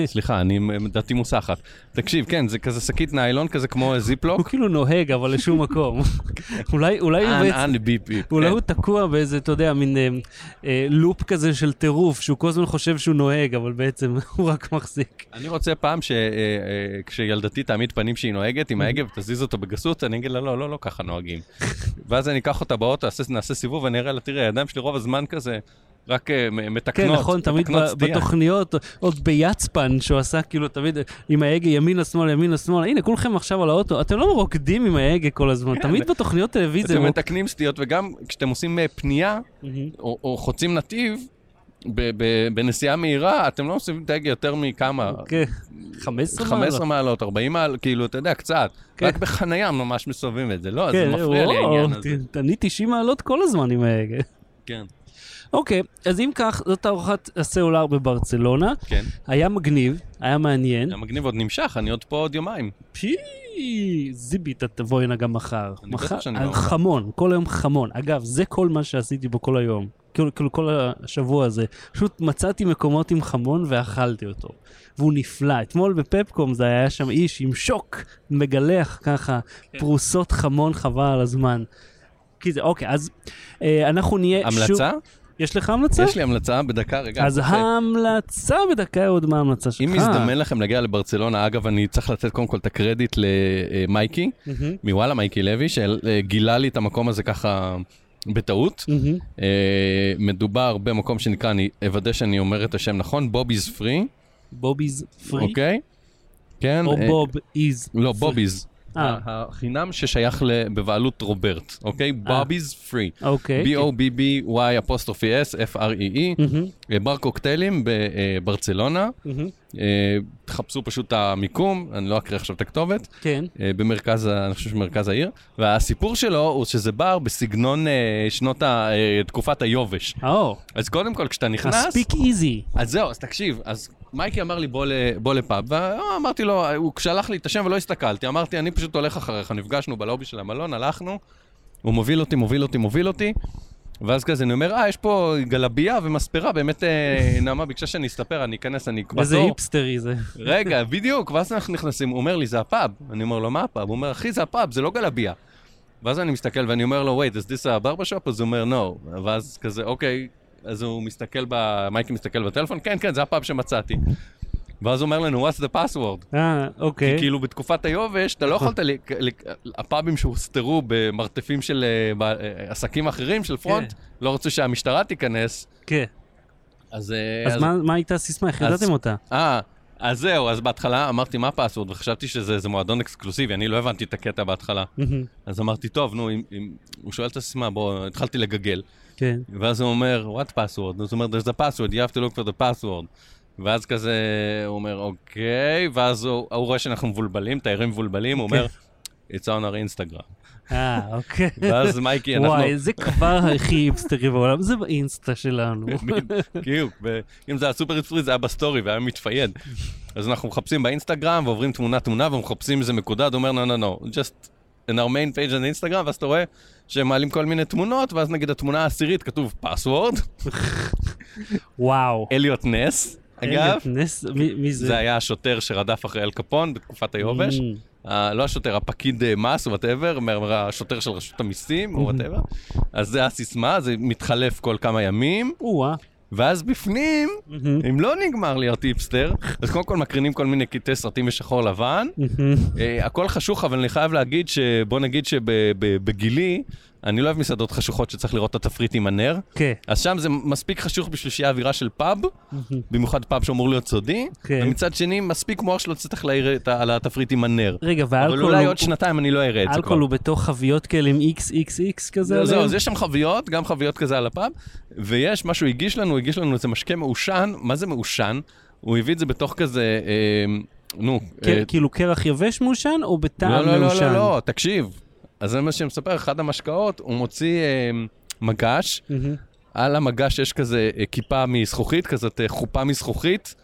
Speaker 2: סליחה, אני דעתי מוסחת. תקשיב, כן, זה כזה שקית ניילון, כזה כמו
Speaker 1: הוא
Speaker 2: זיפלוק.
Speaker 1: כאילו נוהג, אבל לשום מקום. אולי, אולי הוא
Speaker 2: אנ
Speaker 1: בעצם...
Speaker 2: אנ ביפ ביפ.
Speaker 1: אולי
Speaker 2: כן.
Speaker 1: הוא תקוע באיזה, אתה יודע, מין אה, אה, לופ כזה של טירוף, שהוא כל הזמן חושב שהוא נוהג, אבל בעצם הוא רק מחזיק.
Speaker 2: אני רוצה פעם שכשילדתי תעמיד פנים שהיא נוהגת עם ההגה ותזיז אותו בגסות, אני אגיד לה, לא, לא, לא ככה נוהגים. ואז אני אקח אותה באוטו, אעשה- נעשה סיבוב, אני אראה לה, תראה, הידיים שלי רוב הזמן כזה רק אה, מ- מתקנות,
Speaker 1: כן, נכון, תמיד
Speaker 2: מתקנות
Speaker 1: ב-
Speaker 2: סטייה.
Speaker 1: בתוכניות, עוד ביצפן, שהוא עשה כאילו תמיד עם ההגה ימינה שמאלה, ימינה שמאלה, הנה, כולכם עכשיו על האוטו, אתם לא רוקדים עם ההגה כל
Speaker 2: כן,
Speaker 1: הזמן, תמיד בתוכניות טלוויזיה,
Speaker 2: אתם
Speaker 1: רוק-
Speaker 2: מתקנים סטיות, וגם כשאתם עושים אה, פנייה,
Speaker 1: מהמם.
Speaker 2: או, או חוצים נתיב, ב, ב, בנסיעה מהירה, אתם לא עושים את ההגה יותר מכמה,
Speaker 1: כן, 15 מעלות.
Speaker 2: 15 אה, מעלות, 40 מעלות, כאילו, אתה יודע, קצת.
Speaker 1: כן.
Speaker 2: רק בחנייה ממש מסובבים את זה, לא? אז זה
Speaker 1: כן,
Speaker 2: מפריע לי
Speaker 1: וואו,
Speaker 2: העניין הזה.
Speaker 1: ת- אני 90 מעלות כל הזמן עם ההגה.
Speaker 2: כן,
Speaker 1: אוקיי, אז אם כך, זאת תערוכת הסלולר בברצלונה.
Speaker 2: כן.
Speaker 1: היה מגניב, היה מעניין.
Speaker 2: זה מגניב עוד נמשך, אני עוד פה עוד יומיים.
Speaker 1: פי... זיבי, אתה תבוא הנה גם מחר.
Speaker 2: אני בטח שאני
Speaker 1: על
Speaker 2: לא מחר.
Speaker 1: חמון, כל היום חמון. אגב, זה כל מה שעשיתי בו כל היום. כאילו, כאילו כל השבוע הזה. פשוט מצאתי מקומות עם חמון ואכלתי אותו. והוא נפלא. אתמול בפפקום זה היה שם איש עם שוק, מגלח ככה,
Speaker 2: כן.
Speaker 1: פרוסות חמון חבל על הזמן. כי זה, אוקיי, אז אה, אנחנו נהיה שוב...
Speaker 2: המלצה?
Speaker 1: יש לך המלצה?
Speaker 2: יש לי המלצה, בדקה, רגע.
Speaker 1: אז אה.
Speaker 2: אני רוצה-
Speaker 1: ההמלצה בדקה עוד מה ההמלצה שלך.
Speaker 2: אם מזדמן לכם להגיע לברצלונה, אגב, אני צריך לתת קודם כל את הקרדיט למייקי,
Speaker 1: מהם.
Speaker 2: מוואלה מייקי לוי, שגילה לי את המקום הזה ככה בטעות.
Speaker 1: מהם.
Speaker 2: אה, מדובר במקום שנקרא, אני אוודא שאני אומר את השם נכון, בוביז פרי,
Speaker 1: בוביז פרי,
Speaker 2: אוקיי? כן.
Speaker 1: או
Speaker 2: אה,
Speaker 1: בוב איז.
Speaker 2: לא, בוביז.
Speaker 1: אה,
Speaker 2: החינם ששייך ל- בבעלות רוברט, אוקיי? בוביז פרי.
Speaker 1: אה. אוקיי.
Speaker 2: B-O-B-B-Y אפוסטרופי S, F-R-E-E,
Speaker 1: מהם.
Speaker 2: אה, בר קוקטיילים בברצלונה.
Speaker 1: מהם.
Speaker 2: אה, תחפשו פשוט את המיקום, אני לא אקריא עכשיו את הכתובת,
Speaker 1: כן.
Speaker 2: אה, במרכז, ה- אני חושב שמרכז העיר. והסיפור שלו הוא שזה בר בסגנון אה, שנות ה... אה, תקופת היובש.
Speaker 1: או,
Speaker 2: אז קודם כל, כשאתה נכנס...
Speaker 1: הספיק איזי.
Speaker 2: אז זהו, אז תקשיב, אז מייקי אמר לי בוא, ל, בוא לפאב, ואמרתי לו, הוא שלח לי את השם ולא הסתכלתי, אמרתי, אני פשוט הולך אחריך, נפגשנו בלובי של המלון, הלכנו, הוא מוביל אותי, מוביל אותי, מוביל אותי, ואז כזה אני אומר, אה, יש פה גלבייה ומספרה, באמת אה, נעמה ביקשה שאני אסתפר, אני אכנס, אני אקבע
Speaker 1: איזה
Speaker 2: תור.
Speaker 1: היפסטרי זה.
Speaker 2: רגע, בדיוק, ואז אנחנו נכנסים, הוא אומר לי, זה הפאב. אני אומר לו, מה הפאב? הוא אומר, אחי, זה הפאב, זה לא גלבייה. ואז אני מסתכל ואני אומר לו, wait, is this a barber shop? אז הוא אומר, no. ואז כזה, אוקיי, אז הוא מסתכל, ב... מייקי מסתכל בטלפון, כן, כן, זה הפאב שמצאתי. ואז הוא אומר לנו, what's the password?
Speaker 1: אה, אוקיי. נכון.
Speaker 2: כי כאילו בתקופת היובש, אתה לא יכולת, ל... ל... הפאבים שהוסתרו במרתפים של אה, ב... אה, עסקים אחרים, של פרונט, לא רצו שהמשטרה תיכנס.
Speaker 1: כן.
Speaker 2: אז, אה,
Speaker 1: אז מה- מה הייתה הסיסמה? איך
Speaker 2: אז-
Speaker 1: ידעתם אותה?
Speaker 2: אה, אז זהו, אז בהתחלה אמרתי מה הפסוורד, וחשבתי שזה איזה מועדון אקסקלוסיבי, אני לא הבנתי את הקטע בהתחלה.
Speaker 1: מהם.
Speaker 2: אז אמרתי, טוב, נו, אם, אם... הוא שואל את הסיסמה, בוא, התחלתי לגגל.
Speaker 1: כן.
Speaker 2: ואז הוא אומר, what password? אז הוא אומר, there's a password, you have to look for the password. ואז כזה, הוא אומר, אוקיי, ואז הוא, הוא רואה שאנחנו מבולבלים, תיירים מבולבלים, הוא אומר, it's on our Instagram.
Speaker 1: אה, אוקיי.
Speaker 2: ואז מייקי, אנחנו...
Speaker 1: וואי, זה כבר הכי היפסטרי בעולם, זה באינסטה שלנו.
Speaker 2: בדיוק, כאילו, ו- אם זה היה סופר היפסטרי זה היה בסטורי והיה מתפייד. אז אנחנו מחפשים באינסטגרם ועוברים תמונה-תמונה ומחפשים איזה נקודה, אומר, no, no, no, just in our main page on Instagram, ואז אתה רואה שהם מעלים כל מיני תמונות, ואז נגיד התמונה העשירית כתוב password,
Speaker 1: וואו.
Speaker 2: אליוט נס, אגב,
Speaker 1: אליוט נס, מי- מי זה?
Speaker 2: זה היה השוטר שרדף אחרי אל קפון בתקופת היובש.
Speaker 1: מהם.
Speaker 2: ה- לא השוטר, הפקיד אה, מס, וואטאבר, השוטר של רשות המיסים, או וואטאבר. אז זה הסיסמה, זה מתחלף כל כמה ימים,
Speaker 1: או-אה.
Speaker 2: ואז בפנים
Speaker 1: מהם.
Speaker 2: אם לא נגמר להיות היפסטר, אז קודם כל מקרינים כל מיני קטעי סרטים בשחור לבן.
Speaker 1: מהם.
Speaker 2: אה, הכל חשוך, אבל אני חייב להגיד שבוא נגיד שבגילי, אני לא אוהב מסעדות חשוכות שצריך לראות את התפריט עם הנר.
Speaker 1: כן.
Speaker 2: אז שם זה מספיק חשוך בשביל שיהיה אווירה של פאב,
Speaker 1: מהם.
Speaker 2: במיוחד פאב שאמור להיות סודי.
Speaker 1: כן.
Speaker 2: ומצד שני, מספיק מוח שלא צריך להעיר את ה- על התפריט עם הנר.
Speaker 1: רגע,
Speaker 2: אבל
Speaker 1: ואלכוהול
Speaker 2: אולי עוד
Speaker 1: הוא-
Speaker 2: שנתיים אני לא אראה את זה כבר. לא,
Speaker 1: אלכוהול הוא בתוך חביות כאלה עם XXX כזה
Speaker 2: זהו,
Speaker 1: עליהם?
Speaker 2: זהו, אז יש שם חביות, גם חביות כזה על הפאב, ויש מה שהוא הגיש לנו, הוא הגיש לנו איזה משקה מעושן, מה זה מעושן? הוא הביא את זה בתוך כזה, אה, נו,
Speaker 1: כ-
Speaker 2: אה,
Speaker 1: כאילו קרח יבש מעושן או בטעם
Speaker 2: לא, לא, לא,
Speaker 1: מעושן?
Speaker 2: לא, לא, תקשיב. אז זה מה שאני מספר, אחד המשקאות, הוא מוציא אה, מגש,
Speaker 1: מהמם.
Speaker 2: על המגש יש כזה אה, כיפה מזכוכית, כזאת אה, חופה מזכוכית,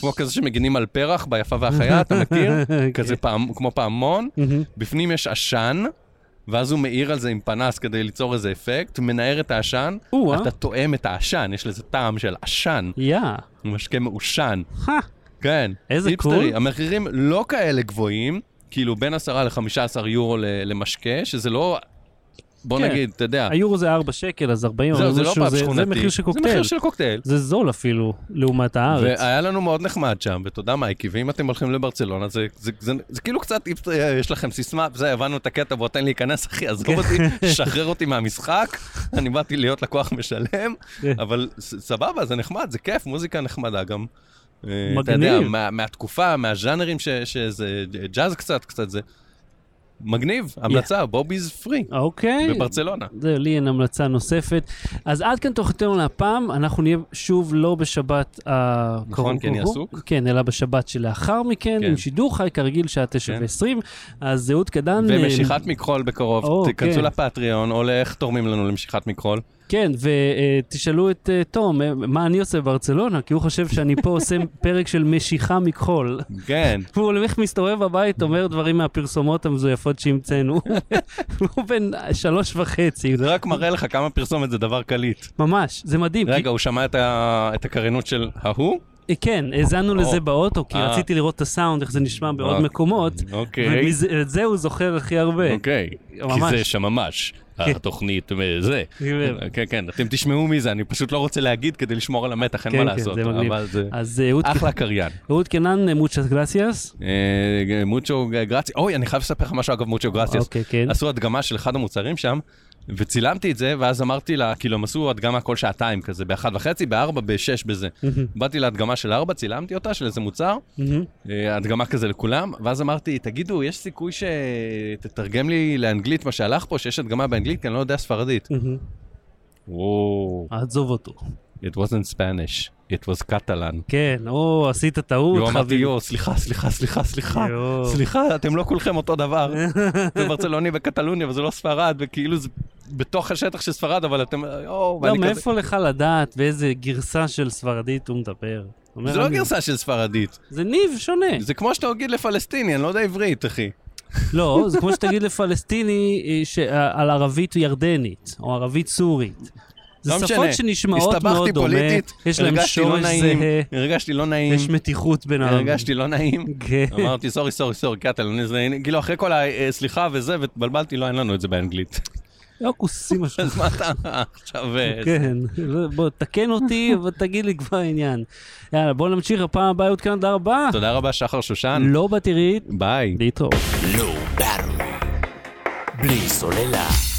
Speaker 2: כמו כזה שמגינים על פרח ביפה והחיה, אתה מכיר? כזה פעם, כמו פעמון,
Speaker 1: מהמם.
Speaker 2: בפנים יש עשן, ואז הוא מאיר על זה עם פנס כדי ליצור איזה אפקט, מנער את העשן,
Speaker 1: או-אה.
Speaker 2: אתה טועם את העשן, יש לזה טעם של עשן,
Speaker 1: יא.
Speaker 2: משקה מעושן.
Speaker 1: הא.
Speaker 2: כן.
Speaker 1: איזה
Speaker 2: היפסטרי.
Speaker 1: קול.
Speaker 2: המחירים לא כאלה גבוהים, כאילו בין 10 ל-15 יורו ל- למשקה, שזה לא בוא
Speaker 1: כן.
Speaker 2: נגיד, אתה יודע.
Speaker 1: היורו זה 4 שקל, אז 40,
Speaker 2: זהו,
Speaker 1: אבל
Speaker 2: זה לא
Speaker 1: משהו-
Speaker 2: פאב
Speaker 1: זה-
Speaker 2: שכונתי.
Speaker 1: זה מחיר של
Speaker 2: זה
Speaker 1: קוקטייל.
Speaker 2: מחיר של קוקטייל.
Speaker 1: זה זול אפילו, לעומת הארץ.
Speaker 2: והיה לנו מאוד נחמד שם, ותודה מייקי, ואם אתם הולכים לברצלונה, זה, זה, זה, זה, זה כאילו קצת, אם אה, יש לכם סיסמה, זה, הבנו את הקטע, בוא תן להיכנס, אחי, עזוב
Speaker 1: כן.
Speaker 2: אותי, שחרר אותי מהמשחק, אני באתי להיות לקוח משלם,
Speaker 1: כן.
Speaker 2: אבל ס- סבבה, זה נחמד, זה כיף, מוזיקה נחמדה גם. אה, אתה
Speaker 1: מגניב.
Speaker 2: יודע, מה, מהתקופה, מהז'אנרים ש- שזה ג'אז קצת, קצת זה. מגניב, המלצה, בוביז פרי,
Speaker 1: אוקיי.
Speaker 2: בברצלונה.
Speaker 1: זה לי אין המלצה נוספת. אז עד כאן תוכניתנו להפעם, אנחנו נהיה שוב לא בשבת הקרוב.
Speaker 2: נכון, כי אני עסוק.
Speaker 1: כן, אלא בשבת שלאחר מכן,
Speaker 2: כן.
Speaker 1: עם שידור חי כרגיל, שעה תשע
Speaker 2: כן.
Speaker 1: ועשרים. אז זהות קדן... אה,
Speaker 2: ומשיכת מכחול
Speaker 1: או,
Speaker 2: בקרוב, תיכנסו
Speaker 1: כן.
Speaker 2: לפטריון, או לאיך תורמים לנו למשיכת מכחול.
Speaker 1: כן, ותשאלו את אה, תום, אה, מה אני עושה בברצלונה? כי הוא חושב שאני פה עושה פרק של משיכה מכחול.
Speaker 2: כן.
Speaker 1: והוא הולך מסתובב בבית, אומר דברים מהפרסומות המזויפות שהמצאנו. הוא בן שלוש וחצי,
Speaker 2: זה רק מראה לך כמה פרסומת זה דבר קליט.
Speaker 1: ממש, זה מדהים. כי-
Speaker 2: רגע, הוא שמע את ה- את הקריינות של ההוא?
Speaker 1: אה, כן, האזנו
Speaker 2: או.
Speaker 1: לזה באוטו, כי
Speaker 2: אה.
Speaker 1: רציתי לראות את הסאונד, איך זה נשמע בעוד
Speaker 2: אוקיי.
Speaker 1: מקומות.
Speaker 2: אוקיי.
Speaker 1: ואת זה הוא זוכר הכי הרבה.
Speaker 2: אוקיי. כי
Speaker 1: ממש.
Speaker 2: זה שממש. התוכנית וזה.
Speaker 1: כן.
Speaker 2: כן, כן, אתם תשמעו מי זה, אני פשוט לא רוצה להגיד כדי לשמור על המתח, אין
Speaker 1: כן,
Speaker 2: מה
Speaker 1: כן,
Speaker 2: לעשות.
Speaker 1: זה מגניב.
Speaker 2: אבל זה
Speaker 1: אז אה, אהוד-
Speaker 2: אחלה קריין.
Speaker 1: אהוד קנן, אה, מוצ'ס גלסיאס.
Speaker 2: אה, מוצ'ו גרציה, אוי, אני חייב לספר לך משהו אגב מוצ'ו גרציאס.
Speaker 1: אוקיי, כן.
Speaker 2: עשו הדגמה של אחד המוצרים שם, וצילמתי את זה, ואז אמרתי לה, כאילו, הם עשו הדגמה כל שעתיים כזה, באחת וחצי, בארבע, בשש, בזה. באתי להדגמה של ארבע, צילמתי אותה, של איזה מוצר,
Speaker 1: מהמם.
Speaker 2: אה, הדגמה כזה לכולם, ואז אמרתי, תגידו, יש סיכוי שתתרגם לי לאנגלית מה שהלך פה, שיש הדגמה באנגלית, כי אני לא יודע ספרדית.
Speaker 1: מהמם.
Speaker 2: וואו,
Speaker 1: עזוב אותו.
Speaker 2: it wasn't Spanish, it was Catalan.
Speaker 1: כן, או, עשית טעות,
Speaker 2: יואו, אמרתי,
Speaker 1: חביב.
Speaker 2: יואו, סליחה, סליחה, סליחה, סליחה,
Speaker 1: יואו.
Speaker 2: סליחה, אתם לא כולכם אותו דבר. זה ברצלוני וקטלוניה, וזה לא ספרד, וכאילו זה בתוך השטח של ספרד, אבל אתם, יואו,
Speaker 1: לא,
Speaker 2: ואני כזה-
Speaker 1: מאיפה לך לדעת באיזה גרסה של ספרדית הוא מדבר? אומר,
Speaker 2: זה לא
Speaker 1: אני-
Speaker 2: גרסה של ספרדית,
Speaker 1: זה ניב שונה.
Speaker 2: זה כמו שאתה תגיד לפלסטיני, אני לא יודע עברית, אחי.
Speaker 1: לא, זה כמו שתגיד לפלסטיני אה, ש- אה, על ערבית ירדנית, או ערבית סורית. זה
Speaker 2: לא
Speaker 1: שפות
Speaker 2: משנה.
Speaker 1: שנשמעות מאוד
Speaker 2: הסתבכתי
Speaker 1: דומה,
Speaker 2: פוליטית,
Speaker 1: יש להם
Speaker 2: הרגשתי לא
Speaker 1: שורש
Speaker 2: נעים,
Speaker 1: זהה,
Speaker 2: הרגשתי לא נעים,
Speaker 1: יש מתיחות בין העם.
Speaker 2: הרגשתי לא נעים.
Speaker 1: כן.
Speaker 2: אמרתי, סורי, סורי, סורי, קטלוני, זה, כאילו, אחרי כל הסליחה וזה, והתבלבלתי, לא, אין לנו את זה באנגלית.
Speaker 1: לא כוסים משהו.
Speaker 2: אז מה אתה עכשיו... אה,
Speaker 1: כן, לא, בוא, תקן אותי ותגיד לי כבר עניין. יאללה, בוא נמשיך, הפעם הבאה עוד כאן, תודה רבה.
Speaker 2: תודה רבה, שחר שושן.
Speaker 1: לא בתראית,
Speaker 2: ביי.
Speaker 1: להתראות.
Speaker 3: Low Battery. בלי סוללה.